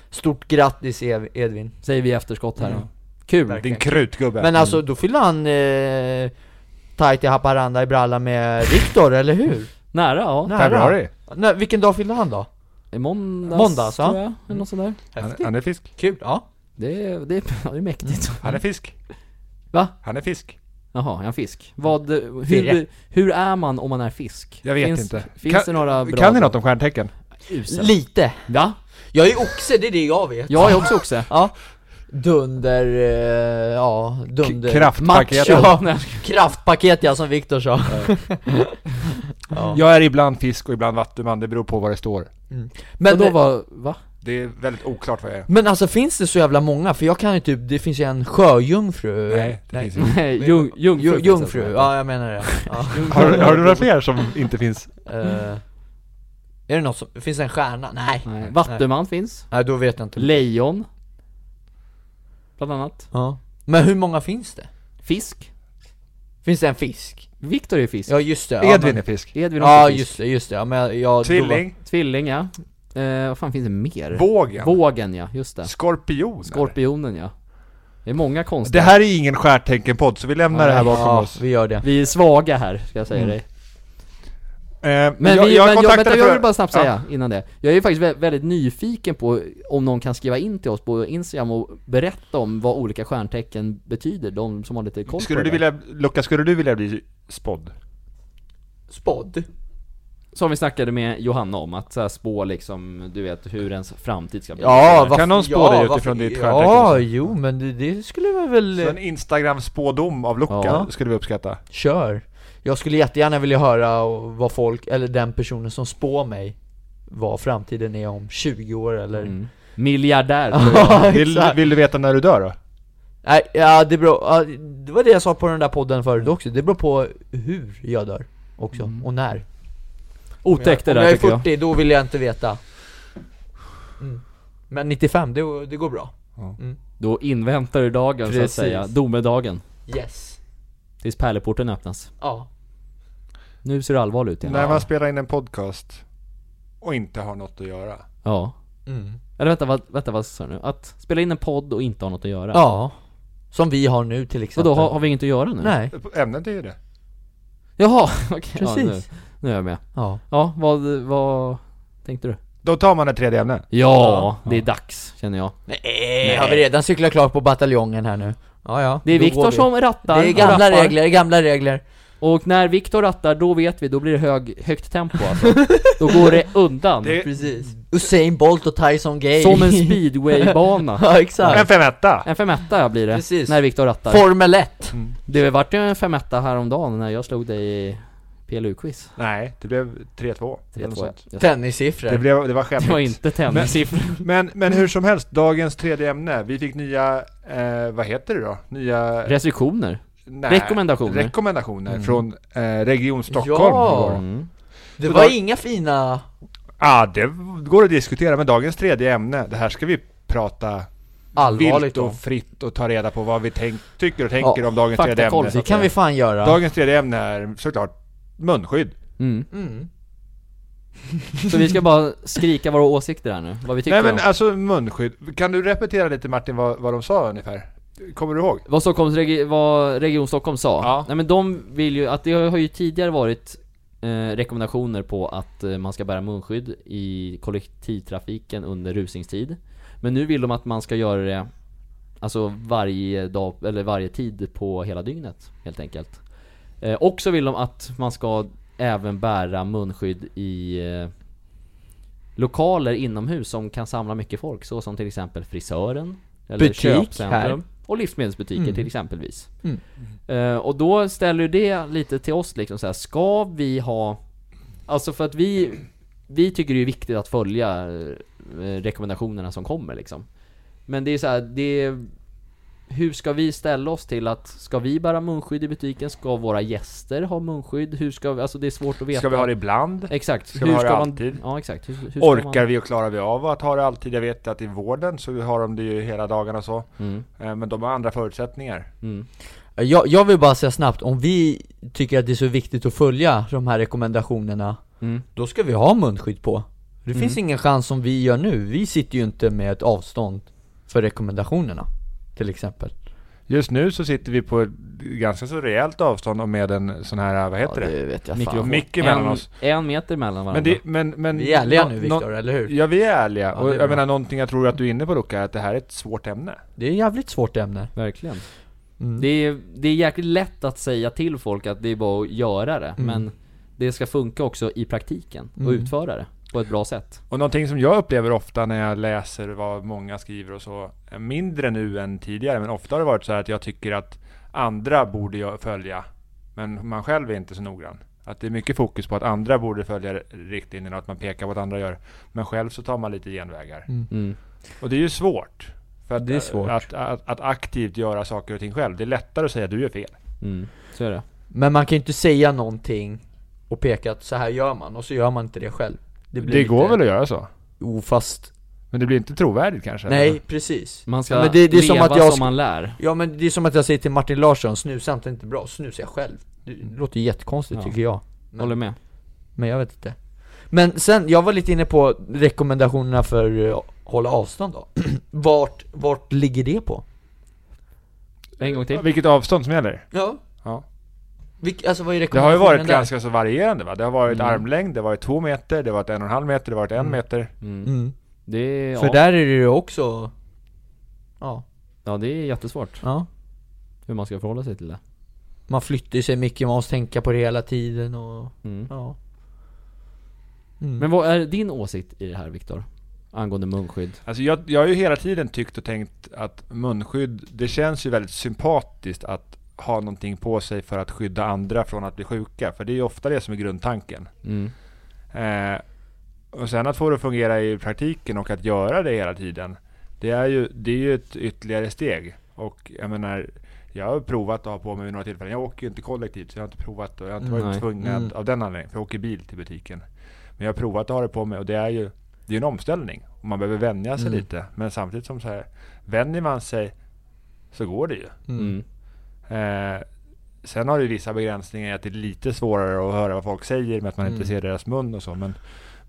B: Stort grattis Ev- Edvin.
A: Säger vi i efterskott här
C: Mm.
A: då. Kul!
C: Din krutgubbe!
B: Men alltså då fyller han eh, tajt i Haparanda i bralla med Viktor, eller hur?
A: Nära ja.
B: Nära.
C: Februari!
B: Nej, vilken dag fyllde han då?
A: I måndags,
B: Måndags, ja.
A: tror jag, eller något sådär.
C: Han, han är fisk.
B: Kul, ja
A: Det är, det är, ja, det är mäktigt.
C: Han är fisk.
A: Mm. Va?
C: Han är fisk.
A: Jaha, är han fisk? Vad, hur,
B: Firre.
A: hur är man om man är fisk?
C: Jag vet
A: finns,
C: inte.
A: Finns
C: Kan-
A: det några bra...
C: Kan ni något om stjärntecken?
A: Usel.
B: Lite.
A: Ja,
B: Jag är oxe, det är det jag vet.
A: jag är också oxe.
B: Ja. Dunder, eh, ja, dunder...
C: Kraftpaketet.
B: Macho.
A: Ja, nej.
B: Kraftpaket ja, som Viktor sa. ja.
C: Jag är ibland fisk och ibland vattuman, det beror på vad det står.
A: Men
B: Men,
A: då var, va?
C: Det är väldigt oklart vad jag är.
B: men alltså finns det så jävla många? För jag kan ju typ, det finns ju en sjöjungfru
C: Nej, det finns inte.
A: Nej, jung, jungfru.
B: Ju-
A: finns det
B: Jungfru,
A: alltså.
B: ja jag menar det ja.
C: Har, har du några fler som inte finns?
B: Eh, Är det något som, finns det en stjärna? Nej
A: Nej. Vattuman finns.
B: Nej då vet jag inte
A: Lejon. Bland annat.
B: ja. Men hur många finns det?
A: Fisk.
B: Finns det en fisk?
A: Viktor är fisk.
B: Ja just det ja,
C: Edvin är
B: men,
C: fisk.
A: Edvin
B: Ja
A: också är
B: just det, just det, ja, men jag, jag
C: Tvilling.
A: fisk. Tvilling ja. Eh, vad fan finns det mer?
C: Vågen.
A: Vågen ja, just det.
C: Skorpion.
A: Skorpionen ja. Det är många konstiga.
C: Det här är ingen stjärntänkenpodd, så vi lämnar det här
B: då var,
C: bakom
B: Ja,
C: oss.
B: vi gör det
A: Vi är svaga här, ska jag säga dig.
C: Eh, men
A: Men
C: Mm. jag,
A: vi,
C: jag
A: men jag,
C: kontaktade
A: vänta, jag
C: för-
A: vill bara snabbt
C: Ja.
A: säga innan det. Jag är ju faktiskt vä- väldigt nyfiken på om någon kan skriva in till oss på Instagram och berätta om vad olika stjärntecken betyder, de som har lite koll
C: Skulle
A: på det.
C: du
A: där.
C: vilja, Luca, skulle du vilja bli spådd?
B: Spådd?
A: Som vi snackade med Johanna om, att så här spå liksom, du vet, hur ens framtid ska bli.
B: Ja, varför,
C: Kan någon spå
B: ja,
C: dig
B: varför-
C: utifrån ditt
B: Ja,
C: stjärntecken?
B: jo men det, det skulle man väl...
C: Så en Instagram-spådom av Luca
A: Ja.
C: skulle vi uppskatta.
B: Kör! Jag skulle jättegärna vilja höra vad folk, eller den personen som spår mig Vad framtiden är om 20 år eller...
A: Mm. Miljardär tror jag.
B: Ja,
C: Vill,
B: exakt.
C: vill du veta när du dör då?
B: Nej, ja det beror, ja, det var det jag sa på den där podden förut
A: Mm.
B: också, det beror på hur jag dör också, och när
A: Otäckt Mm. det
B: Om jag
A: där
B: är
A: tycker jag.
B: 40, då vill jag inte veta mm. Men 95, det, det går bra
A: Då inväntar du dagen så att
B: Precis.
A: säga, domedagen.
B: Yes
A: Tills pärleporten öppnas.
B: Ja,
A: Nu ser du allvarlig ut igen.
C: När man spelar in en podcast och inte har något att göra.
A: Ja.
B: mm.
A: Eller vänta, vad, vänta vad sa du nu? Att spela in en podd och inte ha något att göra?
B: ja Som vi har nu till
A: Så
B: exempel
A: då har, har vi inget att göra nu?
B: Nej,
C: Ämnet är ju det.
A: Jaha, okej. Ja, nu,
B: precis
A: nu är jag med.
B: Ja,
A: Ja, vad, vad tänkte du?
C: Då tar man ett tredje ämne.
A: Ja, det är dags känner jag.
B: Nej, har vi redan cyklat klart på bataljongen här nu? Ja, ja.
A: Det är
B: Då går
A: Viktor
B: vi.
A: som rattar.
B: Det är gamla
A: och rappar.
B: regler, gamla regler.
A: Och när Viktor rattar, då vet vi, då blir det hög, högt tempo alltså. Då går det undan.
C: Det är
B: Precis. Usain Bolt och Tyson
A: Eh,
B: Gay.
A: Som en speedwaybana.
B: ja,
C: en
B: exakt.
C: femetta! Mm.
A: En femetta blir det,
B: Precis.
A: när Viktor rattar.
B: Formel 1.
A: Det vart ju en femetta häromdagen när jag slog dig i PLU-quiz.
C: Nej, det blev 3-2. eller
A: 3-2
C: något
A: ja.
C: sånt.
A: Just det.
C: Det,
B: Tennissiffror.
C: blev, det var
A: Det var
C: skämmigt.
A: inte tennissiffror.
C: Men, men hur som helst, dagens tredje ämne. Vi fick nya, eh, vad heter det då? Nya...
A: Restriktioner.
C: nej,
A: rekommendationer.
C: Rekommendationer från eh, Region Stockholm.
B: Ja.
C: igår.
A: Mm.
B: Det
C: Så
B: var
C: då-
B: inga fina...
C: Ja, det går att diskutera. Men dagens tredje ämne, det här ska vi prata
B: Allvarligt
C: vilt
B: då.
C: och fritt och ta reda på vad vi tänk, tycker och tänker
B: Ja,
C: om dagens tredje
A: faktakoll,
C: ämne.
A: så
B: Det kan vi fan göra.
C: Dagens tredje ämne är såklart munskydd.
A: Mm.
B: Mm.
A: Så vi ska bara skrika våra åsikter här nu, vad vi tycker
C: Nej men
A: om.
C: alltså munskydd. Kan du repetera lite Martin vad, vad de sa ungefär? Kommer du ihåg?
A: Vad, Stockholms regi- vad Region Stockholm sa?
C: Ja.
A: Nej men de vill ju, att det har ju tidigare varit eh, rekommendationer på att eh, man ska bära munskydd i kollektivtrafiken under rusningstid. Men nu vill de att man ska göra det Alltså varje dag, eller varje tid på hela dygnet helt enkelt. Eh, och så vill de att man ska även bära munskydd i eh, lokaler inomhus som kan samla mycket folk. Så som till exempel frisören, eller
B: Butik
A: köpcentrum
B: här.
A: och livsmedelsbutiker
B: Mm.
A: till exempelvis.
B: Mm.
A: Eh, och då ställer ju det lite till oss liksom så här, ska vi ha Alltså för att vi, vi tycker det är viktigt att följa eh, rekommendationerna som kommer liksom. Men det är så här, det är, hur ska vi ställa oss till att, ska vi bära munskydd i butiken? Ska våra gäster ha munskydd? Hur ska vi, alltså det är svårt att veta.
C: Ska vi ha det ibland?
A: Exakt.
C: Ska vi ha det alltid?
A: Ja exakt. Hur, hur ska
C: Orkar
A: man-
C: vi och klarar vi av att ha det alltid? Jag vet att i vården så har de det ju hela dagarna och så.
A: Mm,
C: Eh, Men de har andra förutsättningar.
A: mm.
B: Jag, jag vill bara säga snabbt, om vi tycker att det är så viktigt att följa de här rekommendationerna
A: Mm.
B: Då ska vi ha munskydd på Det
C: Mm.
B: finns ingen chans som vi gör nu, vi sitter ju inte med ett avstånd för rekommendationerna Till exempel
C: Just nu så sitter vi på ett ganska så rejält avstånd och med en sån här, vad heter det?
B: vet jag
A: Mikrofon.
C: Mick emellan
A: en,
C: oss.
A: En meter mellan varandra.
C: Men det, men, men...
B: Vi är ärliga
C: nå-
B: nu
C: Mm. nå-
B: Viktor, eller hur?
C: Ja, vi är ärliga.
B: Ja, det
C: och
B: är
C: jag
B: bra.
C: menar någonting jag tror att du är inne på Luca, är att det här är ett svårt ämne.
B: Det är ett jävligt svårt ämne
A: Verkligen.
B: Mm.
A: Det är, det är jäkligt lätt att säga till folk att det är bara att göra det,
C: Mm.
A: men det ska funka också i praktiken och
B: Mm.
A: utföra det på ett bra sätt.
C: Och någonting som jag upplever ofta när jag läser vad många skriver och så, mindre nu än tidigare, men ofta har det varit så här att jag tycker att andra borde jag följa, men man själv är inte så noggrann. Att det är mycket fokus på att andra borde följa riktlinjerna, att man pekar på att andra gör. Men själv så tar man lite genvägar.
A: Mm.
C: Och det är ju svårt. För att,
B: Det är svårt.
C: Att, att, att aktivt göra saker och ting själv. Det är lättare att säga att du gör fel.
A: Mm. Så är det.
B: Men man kan ju inte säga någonting och peka att så här gör man, och så gör man inte det själv
C: Det,
B: blir
C: går
B: lite-
C: väl att göra så?
B: Jo fast,
C: Men det blir inte trovärdigt kanske?
B: nej precis
A: Man ska
B: ja, men det, det är
A: leva
B: som att jag,
A: som
B: sk-
A: man lär.
B: ja men det är som att jag säger till Martin Larsson, snusa inte inte bra, snusa jag själv Det låter ju jättekonstigt
A: Ja.
B: tycker jag men-
A: Håller med.
B: Men jag vet inte Men sen, jag var lite inne på rekommendationerna för eh, hålla avstånd då Vart, vart ligger det på?
A: En gång till.
C: Vilket avstånd som gäller?
B: Ja
C: Ja.
B: Vilk, alltså vad är
C: Det har ju
B: rekommendationen
C: varit
B: där?
C: ganska så varierande va? Det har varit
A: Mm.
C: armlängd, det har varit två meter, det har varit en och en halv meter, det har varit en
B: Mm.
C: meter.
A: Mm.
B: mm.
A: Det, är,
B: För
A: ja,
B: där är det ju också Ja,
A: ja, det är jättesvårt
B: ja
A: hur man ska förhålla sig till det.
B: Man flyttar ju sig mycket, man måste tänka på det hela tiden och
A: Mm.
B: ja mm.
A: Men vad är din åsikt i det här Viktor? Angående munskydd?
C: Alltså jag, jag har ju hela tiden tyckt och tänkt att munskydd, det känns ju väldigt sympatiskt att ha någonting på sig för att skydda andra från att bli sjuka. För det är ju ofta det som är grundtanken.
A: Mm.
C: Eh, och sen att få det att fungera i praktiken och att göra det hela tiden. Det är ju, det är ju ett ytterligare steg. Och jag menar, jag har provat att ha på mig vid några tillfällen. Jag åker ju inte kollektivt så jag har inte provat och jag har inte
A: Mm,
C: varit
A: nej.
C: tvungen
B: Mm.
C: av den anledningen. För jag åker bil till butiken. Men jag har provat att ha det på mig och det är ju det är en omställning. Och man behöver vänja sig
B: Mm.
C: lite. Men samtidigt som så här, vänjer man sig så går det ju.
A: Mm.
C: Eh, sen har det ju vissa begränsningar i att det är lite svårare att höra vad folk säger med att man
B: Mm.
C: inte ser deras mun och så. Men,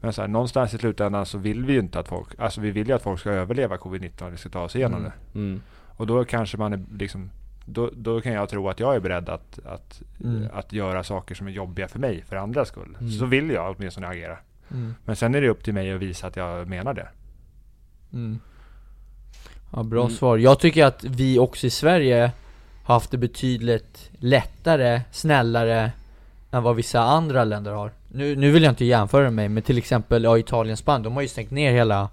C: men så här, någonstans i slutändan så vill vi ju inte att folk, alltså vi vill ju att folk ska överleva covid-19, vi ska ta oss igenom
B: Mm.
C: det.
A: Mm.
C: Och då kanske man är liksom, då, då kan jag tro att jag är beredd att, att,
B: Mm.
C: att göra saker som är jobbiga för mig, för andras skull.
A: Mm.
C: Så vill jag åtminstone agera.
B: Mm.
C: Men sen är det upp till mig att visa att jag menar det.
B: Mm. Ja, bra
A: Mm.
B: svar. Jag tycker att vi också i Sverige har haft det betydligt lättare, snällare än vad vissa andra länder har. Nu, nu vill jag inte jämföra mig med till exempel ja, Italien, Spanien. De har ju stängt ner hela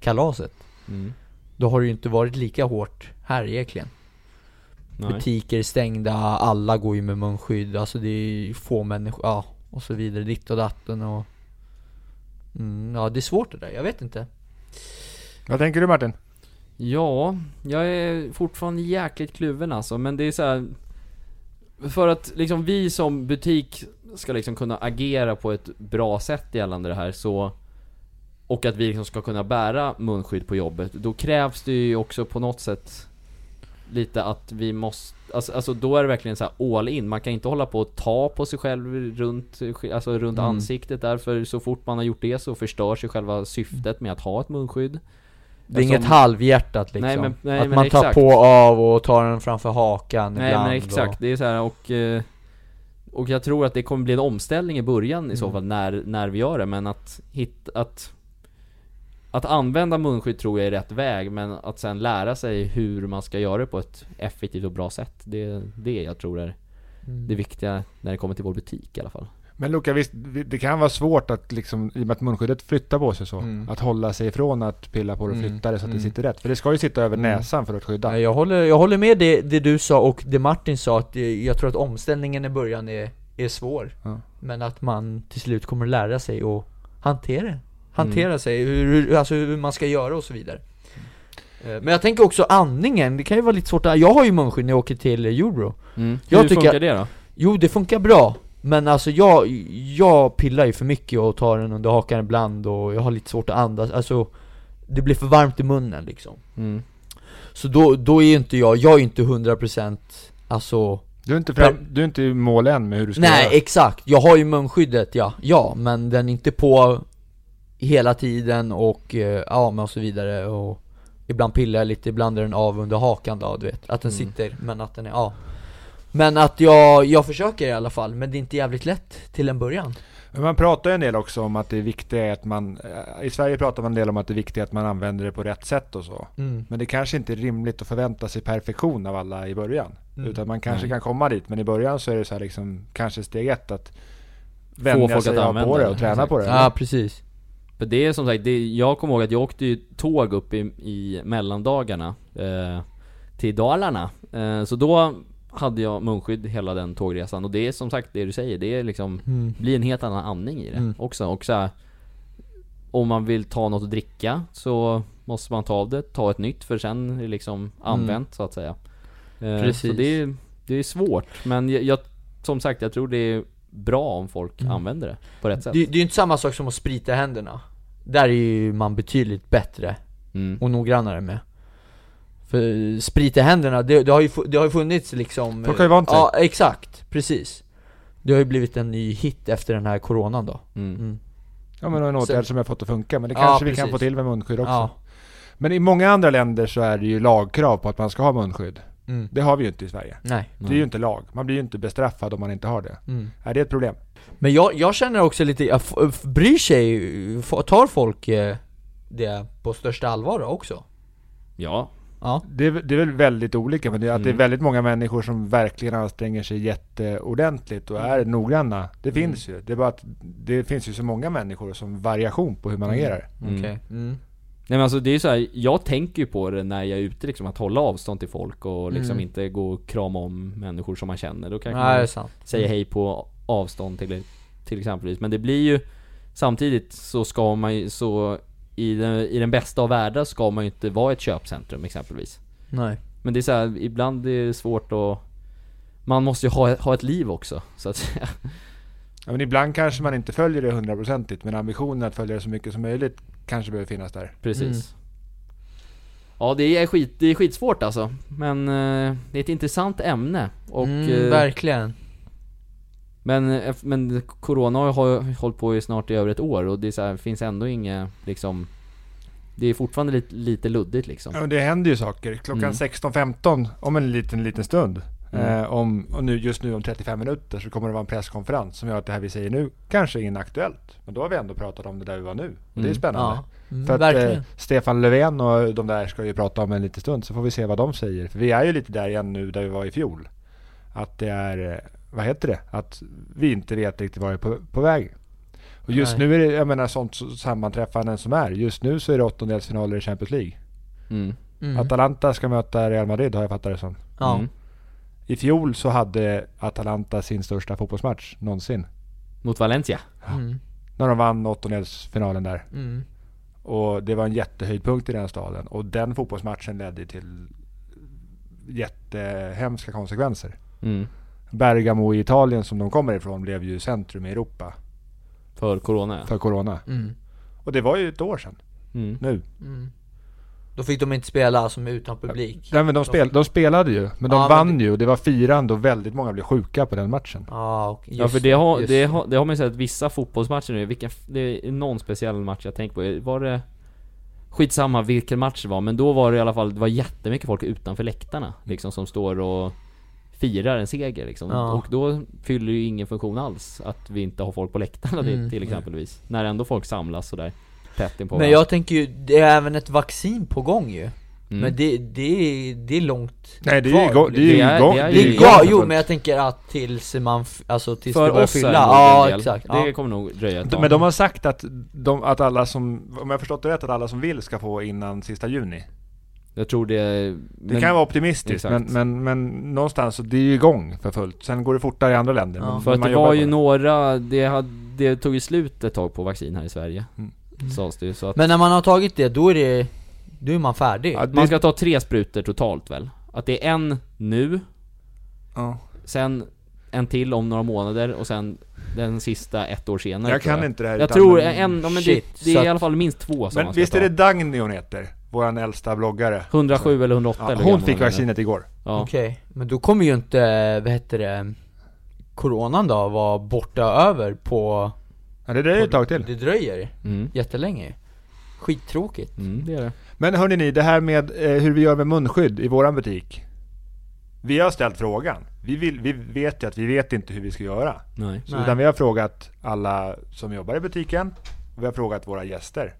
B: kalaset.
A: Mm.
B: Då har det ju inte varit lika hårt här egentligen.
A: Nej.
B: Butiker är stängda, alla går ju med munskydd. Alltså det är ju få människor, ja och så vidare. Ditt och datten och... Mm, ja det är svårt det där, jag vet inte.
C: Vad tänker du Martin?
A: Ja, jag är fortfarande jäkligt kluven alltså, men det är så här. För att liksom vi som butik ska liksom kunna agera på ett bra sätt gällande det här så Och att vi liksom ska kunna bära munskydd på jobbet, då krävs det ju också på något sätt Lite att vi måste, alltså, alltså då är det verkligen så här all in, man kan inte hålla på och ta på sig själv runt, alltså runt
B: Mm.
A: ansiktet där för så fort man har gjort det så förstörs ju själva syftet med att ha ett munskydd
B: Det är inget
A: Eftersom-
B: halvhjärtat liksom.
A: Alltså, Nej, men- nej,
B: att
A: men
B: man tar
A: exakt.
B: på av och tar den framför hakan
A: Nej
B: ibland
A: men exakt,
B: Och,
A: det är så här och eh, Och jag tror att det kommer bli en omställning i början i så
B: Mm.
A: fall när, när vi gör det men att hitta, att Att använda munskydd tror jag är rätt väg men att sen lära sig hur man ska göra det på ett effektivt och bra sätt Det är det jag tror är
B: Mm.
A: det viktiga när det kommer till vår butik i alla fall
C: Men Luca, visst, vi- det kan vara svårt att liksom, i och med att munskyddet flyttar på sig så,
B: Mm.
C: att hålla sig ifrån att pilla på det och
B: Mm.
C: flytta det så att
B: Mm.
C: det sitter rätt. För det ska ju sitta över
B: Mm.
C: näsan för att skydda.
B: Nej, jag, håller, jag håller med det, det du sa och det Martin sa, att det, jag tror att omställningen i början är, är svår.
C: Ja.
B: Men att man till slut kommer lära sig och hantera det. Hantera
A: Mm.
B: sig, hur, hur, alltså hur man ska göra och så vidare. Eh, Men jag tänker också andningen, det kan ju vara lite svårt att, jag har ju munskydd när jag åker till Euro Mm. Jag
A: Hur
B: tycker-
A: funkar det då?
B: Jo det funkar bra Men alltså jag, jag pillar ju för mycket och tar den under hakan ibland och jag har lite svårt att andas, alltså Det blir för varmt i munnen liksom
A: Mm.
B: Så då, då är ju inte jag, jag är ju inte 100% Alltså
C: Du, är inte fram, du är inte i mål än med hur du ska
B: Nej
C: göra.
B: exakt, jag har ju munskyddet ja, ja men den är inte på hela tiden och eh, ja men och så vidare och Ibland pillar jag lite, ibland är den av under hakan då, du vet Att den
A: Mm.
B: sitter, men att den är av Men att jag, jag försöker i alla fall, men det är inte jävligt lätt till en början
C: Men man pratar ju en del också om att det viktiga är att man, eh, i Sverige pratar man en del om att det viktiga är att man använder det på rätt sätt och så.
B: mm.
C: Men det kanske inte är rimligt att förvänta sig perfektion av alla i början.
B: Mm.
C: Utan man kanske
A: Nej.
C: kan komma dit, men i början så är det så här liksom, kanske steg ett att vänja
A: folk
C: sig
A: att
C: att
A: använda
C: på det
A: det.
C: och träna på det.
B: Ja precis
A: För det är som sagt, det, jag kommer ihåg att jag åkte ju tåg upp i, i mellandagarna eh, Till Dalarna eh, Så då hade jag munskydd hela den tågresan och det är som sagt det du säger, det är liksom
B: mm.
A: blir en helt annan andning i det
B: Mm.
A: också och så här, Om man vill ta något att dricka så måste man ta av det, ta ett nytt för sen är det liksom använt så att säga eh,
B: Mm. Precis.
A: Så det är, det är svårt men jag, jag, som sagt jag tror det är bra om folk
B: Mm.
A: använder det på rätt sätt
B: Det, det är ju inte samma sak som att sprita händerna Där är ju man betydligt bättre
A: mm.
B: och noggrannare med För sprita händerna, det, det, har, ju, fu- det har ju funnits liksom
C: Folk har ju vant sig.
B: Ja, exakt, precis Det har ju blivit en ny hit efter den här coronan då
A: Mm.
C: Ja men en
B: Sen-
C: åtgärd som har fått att funka, men det
B: Ja,
C: kanske vi kan
B: precis.
C: få till med munskydd också.
B: Ja,
C: Men i många andra länder så är det ju lagkrav på att man ska ha munskydd.
B: mm.
C: Det har vi ju inte i Sverige.
B: nej
C: Det är ju inte lag. Man blir ju inte bestraffad om man inte har det.
B: mm.
C: Är det ett problem?
B: Men jag, jag känner också lite, jag f- f- bryr sig, f- tar folk eh, det på största allvar också?
A: Ja,
B: Ja,
C: Det är, det är väl väldigt olika, men det är, att det är
A: Mm.
C: väldigt många människor som verkligen anstränger sig jätteordentligt och är noggranna. Det
B: Mm.
C: finns ju. Det är bara att det finns ju så många människor som variation på hur man
B: Mm.
C: agerar.
A: Mm.
B: okej mm.
A: Nej men alltså det är ju så här, jag tänker ju på det när jag är ute liksom, att hålla avstånd till folk och liksom
B: Mm.
A: inte gå och krama om människor som man känner. Då kan
B: Nej, det är
A: man
B: sant
A: säga hej på avstånd till, till exempelvis. Men det blir ju, samtidigt så ska man ju, så i den, i den bästa av världar ska man ju inte vara ett köpcentrum exempelvis.
B: Nej
A: Men det är så här, ibland är det svårt att man måste ju ha, ha ett liv också, så att säga.
C: Ja, men ibland kanske man inte följer det hundraprocentigt, men ambitionen att följa det så mycket som möjligt kanske behöver finnas där.
A: Precis. Mm. Ja, det är, skit, det är skitsvårt alltså. Men eh, det är ett intressant ämne. Och,
B: mm,
A: eh,
B: verkligen
A: Men, eh, eff- men Corona har ju hållit på i snart i över ett år och det är så här, finns ändå inget liksom Det är fortfarande lite, lite luddigt liksom
C: Ja, men det händer ju saker. Klockan
A: Mm.
C: 16.15 om en liten, liten stund.
A: Mm.
C: Eh, om, och nu, just nu om 35 minuter så kommer det vara en presskonferens som gör att det här vi säger nu kanske är inaktuellt. Men då har vi ändå pratat om det där vi var nu. Och det är
A: Mm.
C: spännande.
B: Ja, mm,
C: För att
B: verkligen
C: eh, Stefan Löfven och de där ska ju prata om en liten stund så får vi se vad de säger. För vi är ju lite där igen nu där vi var i fjol. Att det är, eh, vad heter det? Att vi inte vet riktigt var det är på, på väg. Och just
B: Nej.
C: nu är det, jag menar sånt så- sammanträffanden som är. Just nu så är det åttondelsfinaler i Champions League.
A: mm.
B: mm.
C: Atalanta ska möta Real Madrid har jag fattat det som.
B: Ja,
A: Mm.
C: I fjol så hade Atalanta sin största fotbollsmatch någonsin.
A: Mot Valencia
B: mm.
C: När de vann åttondelsfinalen där.
B: Mm.
C: Och det var en jättehöjdpunkt i den staden. Och den fotbollsmatchen ledde till jättehemska konsekvenser.
A: mm.
C: Bergamo i Italien som de kommer ifrån blev ju centrum i Europa
A: För Corona ja.
C: för Corona.
B: Mm.
C: Och det var ju ett år sedan
A: mm.
C: nu.
B: Mm. Då fick de inte spela som utan publik
C: Nej, men de, spel, de spelade ju, men de
B: Ja, men
C: vann
B: det-
C: ju och det var firande och väldigt många blev sjuka på den matchen.
B: Ja, och just,
A: Ja för det har,
B: just.
A: det, har, det har man ju sett vissa fotbollsmatcher nu, vilken, f- det är någon speciell match jag tänker på, var det Skitsamma vilken match det var, men då var det i alla fall, det var jättemycket folk utanför läktarna liksom som står och firar en seger liksom.
B: Ja.
A: Och då fyller det ju ingen funktion alls att vi inte har folk på läktarna till-
B: Mm.
A: till exempelvis. När ändå folk samlas sådär tätt inpå
B: Men jag tänker ju, det är även ett vaccin på gång ju
A: Mm.
B: Men det, det, är, det är långt
C: Nej, det är ju
B: kvar.
C: igång. Det är ju
A: Det är-
C: igång.
A: det är
B: Det
A: ju
B: är
A: igång
B: ja,
A: igång.
B: jo men jag tänker att tills man, f- alltså tills det
A: För
B: börjar
A: oss är
B: fylla
A: det nog en
B: Ja
A: del.
B: exakt, ja.
A: Det kommer nog dröja ett
C: De-
A: tag.
C: Men de har sagt att, de, att alla som, om jag förstått det rätt, att alla som vill ska få innan sista juni.
A: Jag tror det...
C: Det kan vara optimistiskt, men,
A: Exakt.
C: men, men någonstans, så det är ju igång för fullt. Sen går det fortare i andra länder.
B: Ja.
C: men-
A: För
C: men
A: att
C: man
A: det
C: jobbar
A: var
C: på
A: ju
C: det.
A: några, det, hade, det tog ju slut ett tag på vaccin här i Sverige.
C: Mm.
A: Sades det ju, så att
B: Men när man har tagit det, då är det, då är man färdig
C: Ja, det-
A: Man ska ta tre sprutor totalt väl? Att det är en nu,
C: ja.
A: sen en till om några månader och sen den sista ett år senare
C: Jag
A: tror
C: kan inte det här
A: Jag
C: utan-
A: tror en, ja, men det,
B: Shit,
A: det
B: så
A: är
B: att-
A: i alla fall minst två som
C: Men
A: man ska
C: visst
A: ta.
C: är det Dagny hon heter? Våran äldsta bloggare.
A: 107 eller 108
C: Ja,
A: eller hur
C: hon
A: gammal
C: fick
A: hon är.
C: vaccinet igår.
A: Ja.
B: Okej, men då kommer ju inte, vad heter det, Coronan då vara borta över på...
C: Ja, det dröjer ett tag till.
B: Det dröjer
A: Mm.
B: jättelänge Skittråkigt
A: Mm, det är det.
C: Men hörni ni, det här med eh, hur vi gör med munskydd i våran butik. Vi har ställt frågan. Vi, vill, vi vet ju att vi vet inte hur vi ska göra.
A: Nej.
C: Så,
B: Nej.
C: utan vi har frågat alla som jobbar i butiken och vi har frågat våra gäster.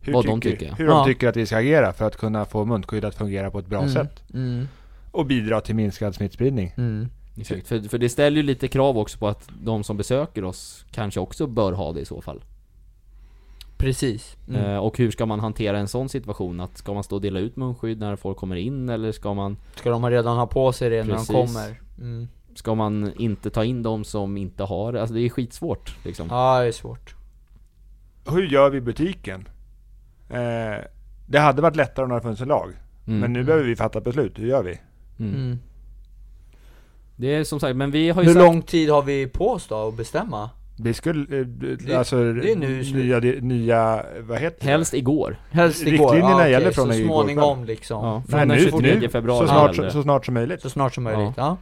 C: Hur
A: Vad de tycker.
C: Hur de
B: Ja.
C: tycker att vi ska agera för att kunna få munskydd att fungera på ett bra
B: Mm,
C: sätt.
B: Mm,
C: Och bidra till minskad smittspridning.
B: mm.
A: Exakt. För, för det ställer ju lite krav också på att de som besöker oss kanske också bör ha det i så fall.
B: Precis. Mm.
A: Eh, och hur ska man hantera en sån situation? Att ska man stå och dela ut munskydd när folk kommer in eller ska man,
B: Ska de redan ha på sig det när de
A: Precis.
B: kommer? Mm.
A: ska man inte ta in de som inte har det? Alltså det är skitsvårt liksom.
B: Ja, det är svårt.
C: Hur gör vi i butiken? Eh, det hade varit lättare om det hade funnits en lag.
A: Mm.
C: Men nu behöver vi fatta beslut. Hur gör vi?
A: Mm.
B: Mm.
A: Det är som sagt, men vi har ju
B: Hur
A: sagt,
B: lång tid har vi på oss då att bestämma?
C: Vi skulle... eh,
B: Det-
C: alltså,
B: det är nu slut.
C: nya, nya... Vad heter det?
A: helst igår.
B: Helst igår?
C: Riktlinjerna
B: okej,
C: gäller från
B: Så
C: igår
B: småningom liksom.
A: Ja,
C: Nej,
A: från den
C: nu-
A: 23
C: nu.
A: februari
C: Så snart,
A: gäller det.
C: så, snart som möjligt.
B: Så snart som möjligt. Ja.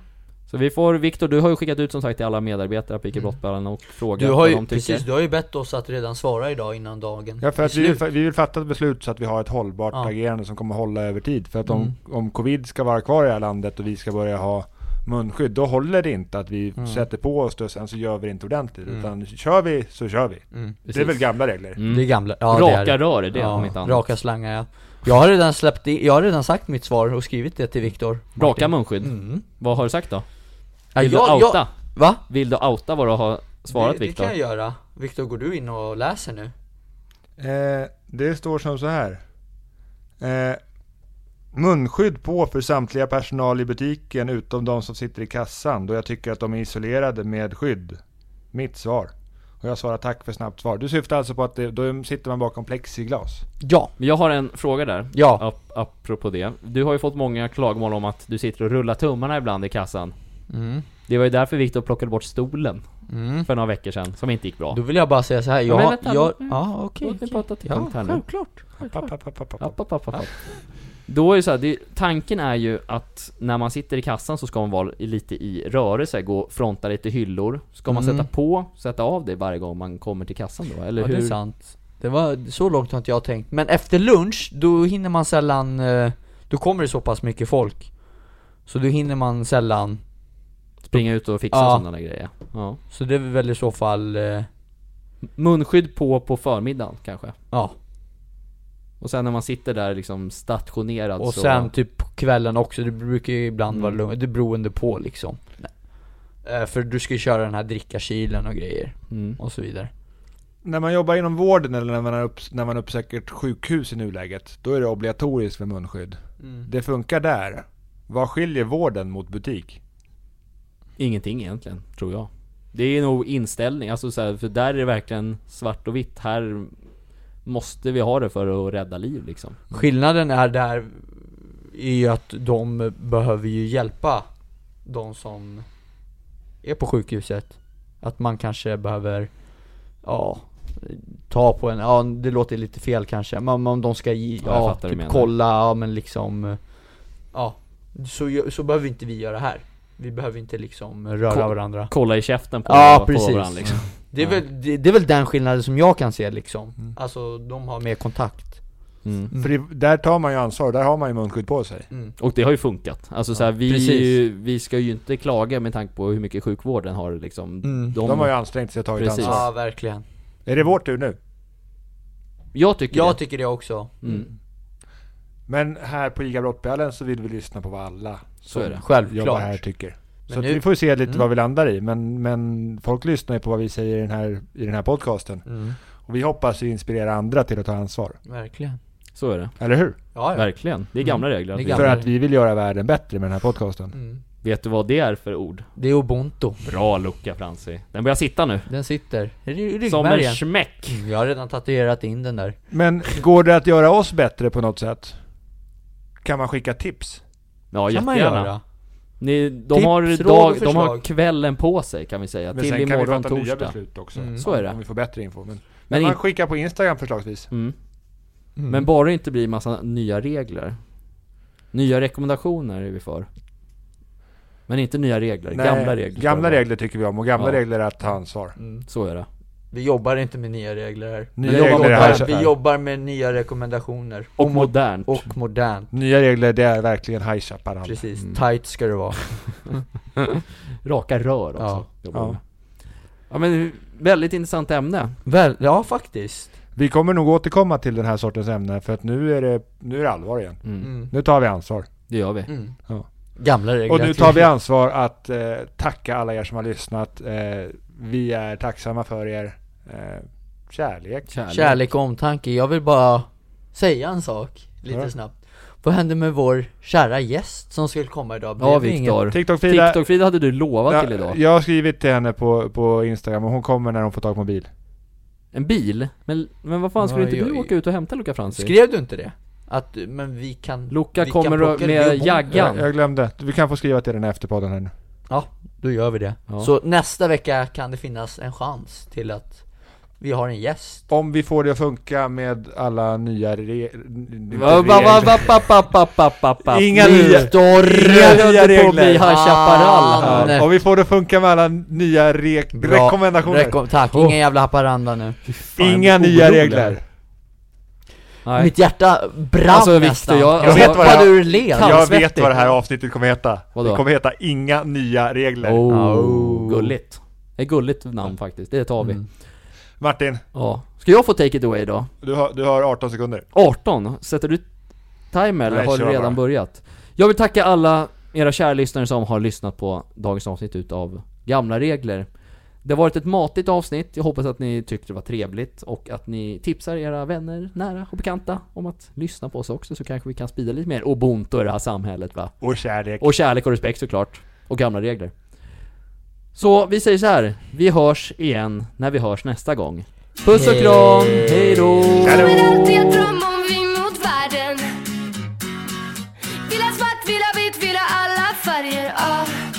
A: Så vi får, Viktor du har ju skickat ut som sagt till alla medarbetare på ICA Brottballan och frågat
B: Mm. Du har
A: vad
B: ju,
A: de tycker.
B: precis, du har ju bett oss att redan svara idag innan dagen
C: Ja, för
B: är
C: att vi, vill,
B: slut.
C: fa- vi vill fatta ett beslut så att vi har ett hållbart
B: Ja. Mm.
C: agerande som kommer hålla över tid. För att om, om covid ska vara kvar i det här landet och vi ska börja ha munskydd, då håller det inte att vi
B: Mm.
C: sätter på oss det och sen så gör vi det inte ordentligt.
B: Mm.
C: Utan kör vi, så kör vi.
B: Mm.
C: Det är väl gamla regler.
A: mm.
B: Det är gamla, ja
A: Raka
B: det är det.
A: rör, det är
B: ja,
A: om inte annat.
B: Raka slangar ja. Jag har redan släppt i, jag har redan sagt mitt svar och skrivit det till Viktor
A: Raka munskydd.
B: mm.
A: Vad har du sagt då?
B: ja,
A: Vill
B: jag,
A: du outa?
B: jag, Va?
A: Vill du outa vad du har svarat
B: det, det
A: Viktor?
B: kan jag göra Viktor, går du in och läser nu?
C: Eh, det står som så här. Eh, munskydd på för samtliga personal i butiken utom de som sitter i kassan då jag tycker att de är isolerade med skydd. Mitt svar. Och jag svarar tack för snabbt svar. Du syftar alltså på att det, då sitter man bakom plexiglas?
B: Ja,
A: Men Jag har en fråga där.
B: ja,
A: Ap- apropå det. Du har ju fått många klagomål om att du sitter och rullar tummarna ibland i kassan.
B: Mm.
A: Det var ju därför Viktor plockade bort stolen
B: Mm.
A: för några veckor sedan, som inte gick bra.
B: Då vill jag bara säga så här.
A: Ja, men
B: jag,
A: vänta,
B: jag,
A: låt mig-
B: ja okej
A: Låt mig
B: okej.
A: prata till
B: Ja,
A: punkt här nu.
B: självklart
C: App, app, app, app, app, app.
A: App, app, app, app, app. Då är det så här, det, tanken är ju att när man sitter i kassan så ska man vara i- lite i rörelse, gå och fronta lite hyllor. Ska man
B: Mm.
A: sätta på, sätta av det varje gång man kommer till kassan då? Eller
B: Ja, det är
A: hur?
B: sant. Det var, så långt har inte jag tänkt. Men efter lunch, då hinner man sällan, eh, då kommer det så pass mycket folk. Så då hinner man sällan,
A: Springa ut och fixa
B: Ja.
A: sådana där grejer. Ja.
B: så det är väl i så fall, eh,
A: Munskydd på på förmiddagen kanske.
B: ja.
A: Och sen när man sitter där liksom stationerad
B: Och
A: så...
B: sen typ på kvällen också, det brukar ju ibland
A: Mm.
B: vara lugnt, det är beroende på liksom. Eh, För du ska ju köra den här drickakylen och grejer,
A: Mm.
B: och så vidare.
C: När man jobbar inom vården eller när man, är upp, när man uppsöker ett sjukhus i nuläget, då är det obligatoriskt med munskydd. Det funkar där. Vad skiljer vården mot butik?
A: Ingenting egentligen, tror jag. Det är nog inställning, alltså så här, för där är det verkligen svart och vitt. Här måste vi ha det för att rädda liv liksom.
B: Skillnaden är där är ju att de behöver ju hjälpa de som är på sjukhuset. Att man kanske behöver, ja, ta på en, ja det låter lite fel kanske, men om- om de ska ge,
A: Ja, jag
B: ja,
A: fattar vad du
B: typ
A: menar.
B: kolla, ja men liksom, ja. Så, gö- så behöver inte vi göra här. Vi behöver inte liksom röra
A: Ko-
B: varandra.
A: Kolla i käften på,
B: Ja,
A: på
B: precis.
A: varandra liksom.
B: Det är,
A: Nej.
B: väl, det, det är väl den skillnaden som jag kan se liksom.
C: Mm.
B: Alltså de har mer kontakt.
A: Mm.
B: Mm.
C: För det, där tar man ju ansvar, där har man ju munskydd på sig.
B: Mm.
A: Och det har ju funkat. Alltså så här,
B: Ja,
A: vi,
B: precis.
A: är ju- vi ska ju inte klaga med tanke på hur mycket sjukvården har liksom.
B: Mm.
A: De,
C: De har ju ansträngt sig och tagit
A: Precis.
C: ansvar.
B: Ja, verkligen.
C: Är det vår tur nu?
A: Jag tycker
B: Jag
A: det.
B: tycker det också.
A: Mm.
C: Men här på ICA Brottbjällen så vill vi lyssna på vad alla
A: Så är det.
C: jobbar
B: Självklart.
C: här tycker.
B: Men
C: Så att
B: nu-
C: vi får se lite
B: Mm.
C: vad vi landar i. Men, men folk lyssnar ju på vad vi säger i den här, i den här podcasten.
B: Mm,
C: Och vi hoppas ju inspirera andra till att ta ansvar.
B: verkligen.
A: Så är det.
C: Eller hur?
B: Ja, ja.
A: Verkligen. Det är gamla regler. att
B: Det är
A: vi-
B: gamla.
C: För att vi vill göra världen bättre med den här podcasten.
B: Mm.
A: Vet du vad det är för ord?
B: Det är ubuntu.
A: Bra lucka Franzi. Den börjar sitta nu.
B: Den sitter i ry-
A: Som en
B: ryggmärgen.
A: smäck.
B: Mm, Jag har redan tatuerat in den där.
C: Men går det att göra oss bättre på något sätt? Kan man skicka tips?
A: Ja,
B: kan man
A: jättegärna.
B: göra.
A: Ni, de
B: Tips,
A: har
B: råd och
A: dag, de
B: förslag.
A: har kvällen på sig kan vi säga,
C: Men
A: till
C: sen kan vi
A: imorgon
C: fatta nya
A: torsdag.
C: beslut också.
B: Mm.
A: Så är det.
C: Om vi får bättre info. Men,
A: Men,
C: man
A: in,
C: skickar på Instagram förslagsvis.
A: mm.
B: Mm.
A: men bara det inte blir massa nya regler. Nya rekommendationer är vi för. Men inte nya regler, gamla regler.
C: Gamla regler tycker vi om och gamla
A: Ja.
C: regler är att ta ansvar.
B: Mm.
A: Så är det.
B: Vi jobbar inte med nya regler här.
A: Men
C: Nya
A: jobbar
C: regler,
A: mot
C: är
A: det här
C: här,
B: vi jobbar med nya rekommendationer.
A: Och modernt.
B: Och modern.
C: nya regler, det är verkligen High Chaparral.
B: Precis,
A: Mm.
B: tight ska det vara.
A: Raka rör också.
B: Ja.
A: jobbar
C: Ja.
A: med. ja men väldigt intressant ämne.
B: Väl, ja faktiskt.
C: Vi kommer nog återkomma till den här sortens ämnen för att nu är det, nu är det allvar igen.
A: Mm.
B: Mm.
C: Nu tar vi ansvar.
A: Det gör vi.
B: Mm.
C: Ja.
B: Gamla regler.
C: Och nu tar vi ansvar att eh, tacka alla er som har lyssnat. Eh, vi är tacksamma för er eh, kärlek.
A: Kärlek.
B: Kärlek och omtanke, jag vill bara säga en sak lite
C: Ja.
B: snabbt Vad hände med vår kära gäst som skulle komma idag? Blev
A: Ja
B: det ingen-
A: Viktor.
C: TikTok-Frida.
A: TikTok-Frida hade du lovat
C: Typ- Ja,
A: till idag.
C: Jag har skrivit till henne på, på Instagram och hon kommer när hon får tag på en bil.
A: En bil? Men, men vad fan skulle
B: Ja,
A: inte du
B: jag-
A: åka ut och hämta Luca Franzi?
B: Skrev du inte det? Att, men vi kan
A: Luca
B: vi
A: kommer
B: kan
A: och-
B: plocka
A: med
B: ribbon.
A: jaggan.
C: Jag, jag glömde. Vi kan få skriva till den efter podden här nu.
B: Ja, då gör vi det
A: Ja.
B: Så nästa vecka kan det finnas en chans till att vi har en gäst
C: Om vi får det att funka med alla nya re- inte
A: Va, va, va, va, pa, pa, pa, pa, pa, pa.
C: Inga
A: Nu
C: nya-
A: står-
C: inga
A: höll
C: nya
A: du på att
C: regler. Ah.
A: bli High Chaparral här.
B: Fan.
C: Ja, om vi får det att funka med alla nya re-
B: Bra.
C: rekommendationer.
B: Rekom- Tack,
A: Oh.
B: ingen jävla Haparanda nu
C: Inga
A: jag blir
C: nya
A: orolig
C: regler.
A: här. Nej.
B: Mitt hjärta brann
A: Alltså, Viktor,
B: nästan
A: jag-
C: Jag vet vad
B: hoppade
C: jag-
B: ur led
A: Kan-
C: Jag
A: Handsvettig.
C: vet vad det här avsnittet kommer heta.
A: Vadå?
C: Det kommer heta Inga nya regler.
A: Oh,
B: Oh.
A: gulligt. Ett gulligt namn faktiskt, det tar vi.
B: Mm.
C: Martin,
A: Ja. Ska jag få take it away då?
C: du har, du har 18 sekunder.
A: 18, sätter du timer eller
C: Nej,
A: har du
C: kör
A: redan
C: bara.
A: börjat? Jag vill tacka alla era kära lyssnare som har lyssnat på dagens avsnitt utav Gamla Regler. Det har varit ett matigt avsnitt, jag hoppas att ni tyckte det var trevligt och att ni tipsar era vänner, nära och bekanta om att lyssna på oss också så kanske vi kan sprida lite mer ubuntu i det här samhället va.
C: Och kärlek.
A: Och kärlek och respekt såklart. Och gamla regler. Så vi säger så här. vi hörs igen när vi hörs nästa gång. Puss och kram, hejdå!
D: Kommer alltid att drömma om vi mot världen Vill ha svart, vill ha vitt, vill ha alla färger ah, Ah,